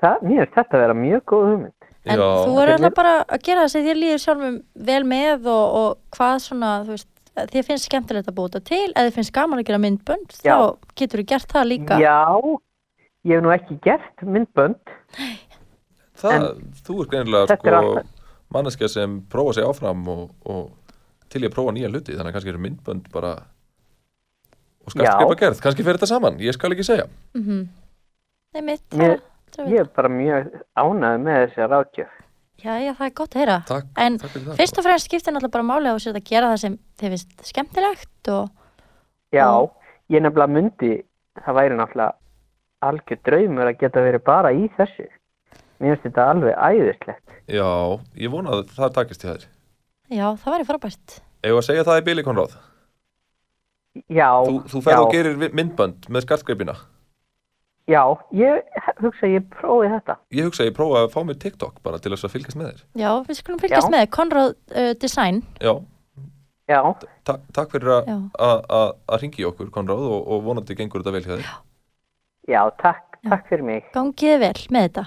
Speaker 11: það, mér finnst þetta að vera mjög góð hugmynd.
Speaker 4: en þú er alltaf bara að gera það sem þér líður sjálfum vel með og, og hvað svona, þú veist, þér finnst skemmtilegt að búta til, eða þér finnst gaman að gera myndbönd,
Speaker 11: Já.
Speaker 4: þá getur þú gert það líka.
Speaker 11: Já, ég hef nú ekki gert myndbönd.
Speaker 3: Það,
Speaker 11: En
Speaker 3: þú er greinilega
Speaker 11: þetta er
Speaker 3: sko,
Speaker 11: alltaf-
Speaker 3: manneskja sem prófa sig áfram og, og til ég prófa nýja hluti þannig að kannski eru myndbönd bara og skartgripa gerð, kannski fer þetta saman ég skal ekki segja
Speaker 4: Mm Nei, mitt,
Speaker 11: Mér,
Speaker 4: það-
Speaker 11: ég er bara mjög ánægð með þessi ráðgjöf.
Speaker 4: já, já, það er gott að heyra.
Speaker 3: Takk,
Speaker 4: en
Speaker 11: takk fyrir það.
Speaker 4: fyrst og fremst skiptir náttúrulega bara máli á sér að gera það sem þið finnst skemmtilegt og
Speaker 11: Já,
Speaker 4: Mm.
Speaker 11: ég nefnilega myndi, það væri náttúrulega algjör draumur að geta verið bara í þessu. Mér finnst þetta alveg æðislegt.
Speaker 3: Já, ég vona að það takist í þær
Speaker 4: já, það væri frábært.
Speaker 3: Ef að segja það í bíli konráð
Speaker 11: Já,
Speaker 3: Þú, þú ferð
Speaker 11: já.
Speaker 3: og gerir vi- myndbönd með skartgripina
Speaker 11: Já, ég hugsa að ég prófi þetta.
Speaker 3: Ég hugsa að ég prófa að fá mér TikTok bara til þess að fylgjast með þér
Speaker 4: Já, við skulum fylgjast með Conrad uh, Design.
Speaker 3: Já,
Speaker 11: Já.
Speaker 3: Ta takk fyrir að-
Speaker 4: Já.
Speaker 3: að að- að hringi í okkur Konráð og, og vonandi gengur þetta vel hjá þér
Speaker 11: Já, takk, takk fyrir mig.
Speaker 4: Gangið þið vel með þetta.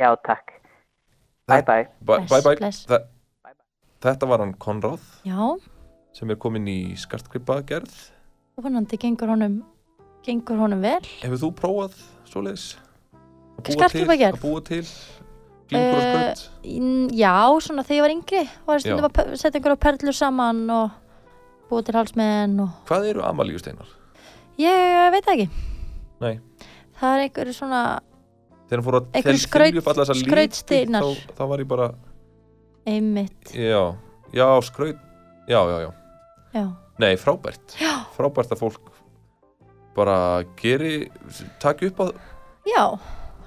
Speaker 11: Já, takk. Bye, bye.
Speaker 3: Bæ- Bæ bæ
Speaker 4: bless.
Speaker 3: Þa- Þetta var hann Konráð
Speaker 4: Já,
Speaker 3: sem er komin í skartgripagerð
Speaker 4: vonandi gengur honum, gengur honum vel.
Speaker 3: Hefur þú prófað svoleiðis? Að búa
Speaker 4: Skartgripagerð?
Speaker 3: til- Að búa til glingur og skraut
Speaker 4: Eh, n- já, svona þegar ég var yngri var ég stundum
Speaker 3: Já.
Speaker 4: að pe- setja einhverja perlur saman og búið til halsmenn og
Speaker 3: Hvað eru amalíusteinar?
Speaker 4: ég veit það ekki
Speaker 3: Nei,
Speaker 4: það er einhverju svona
Speaker 3: þegar hann fór að
Speaker 4: Einhver
Speaker 3: þylja
Speaker 4: skraut-
Speaker 3: upp alla þessa liti,
Speaker 4: skrautsteinar.
Speaker 3: þá, þá var ég bara,
Speaker 4: einmitt
Speaker 3: já, já, skraut Já, já, já
Speaker 4: já,
Speaker 3: Nei, frábært
Speaker 4: Já.
Speaker 3: Frábært að fólk bara geri taki upp að,
Speaker 4: já,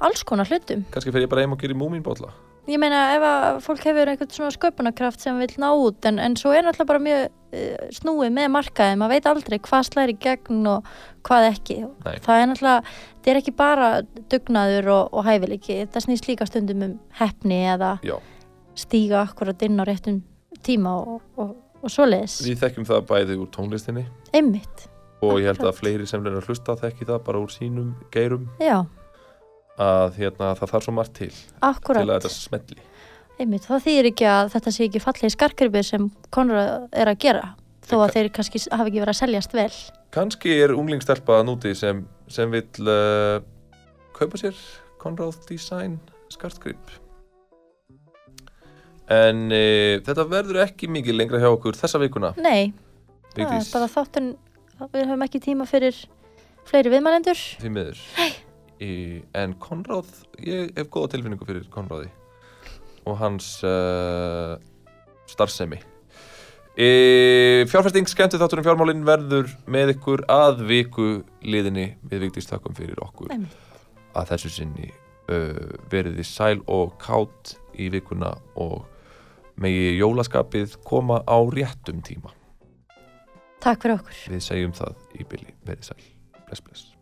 Speaker 4: alls konar hlutum
Speaker 3: kannski fer ég bara heim og geri múmínbólla
Speaker 4: ég meina ef að fólk hefur einhvern svona sköpunarkraft sem vill ná út en, en svo er náttúrulega bara mjög uh, snúið með markaði, maður veit aldrei hvað slæri gegn og hvað ekki
Speaker 3: Nei.
Speaker 4: það er náttúrulega, þetta er ekki bara dugnaður og, og hæfileiki þetta snýst líka stundum um hefni eða
Speaker 3: Já.
Speaker 4: stíga akkurat inn á réttum tíma og, og, og svoleiðis
Speaker 3: Við þekkjum það bæði úr tónlistinni
Speaker 4: einmitt,
Speaker 3: og ég held að fleiri sem leina að hlusta þekki það bara úr sínum geirum
Speaker 4: já,
Speaker 3: að hérna, það þarf svo margt til til að
Speaker 4: akkurat
Speaker 3: þetta smelli
Speaker 4: einmitt, það þýðir ekki að þetta sé ekki fallegi skarkribir sem Konrad er að gera þó að þeir kannski s- hafi ekki verið að seljast vel
Speaker 3: Kanski er unglingstelpa að núti sem, sem vill uh, kaupa sér Conrad Design skartgrip En uh, þetta verður ekki mikið lengra hjá okkur þessa vikuna
Speaker 4: Nei, það er
Speaker 3: Vigdís,
Speaker 4: bara þáttun við höfum ekki tíma fyrir fleiri viðmælendur
Speaker 3: því miður í, En Conrad, ég hef góða tilfinningu fyrir Conradi og hans uh, starfsemi e, Fjárfesting skemmtu þátturinn fjármálinn verður með ykkur að viku liðinni við Vigdís þakkum fyrir okkur
Speaker 4: Einmitt.
Speaker 3: að þessu sinni uh, verið þið sæl og kátt í vikuna og megi jólaskapið koma á réttum tíma
Speaker 4: Takk fyrir okkur
Speaker 3: við segjum það í bili verið sæl bless bless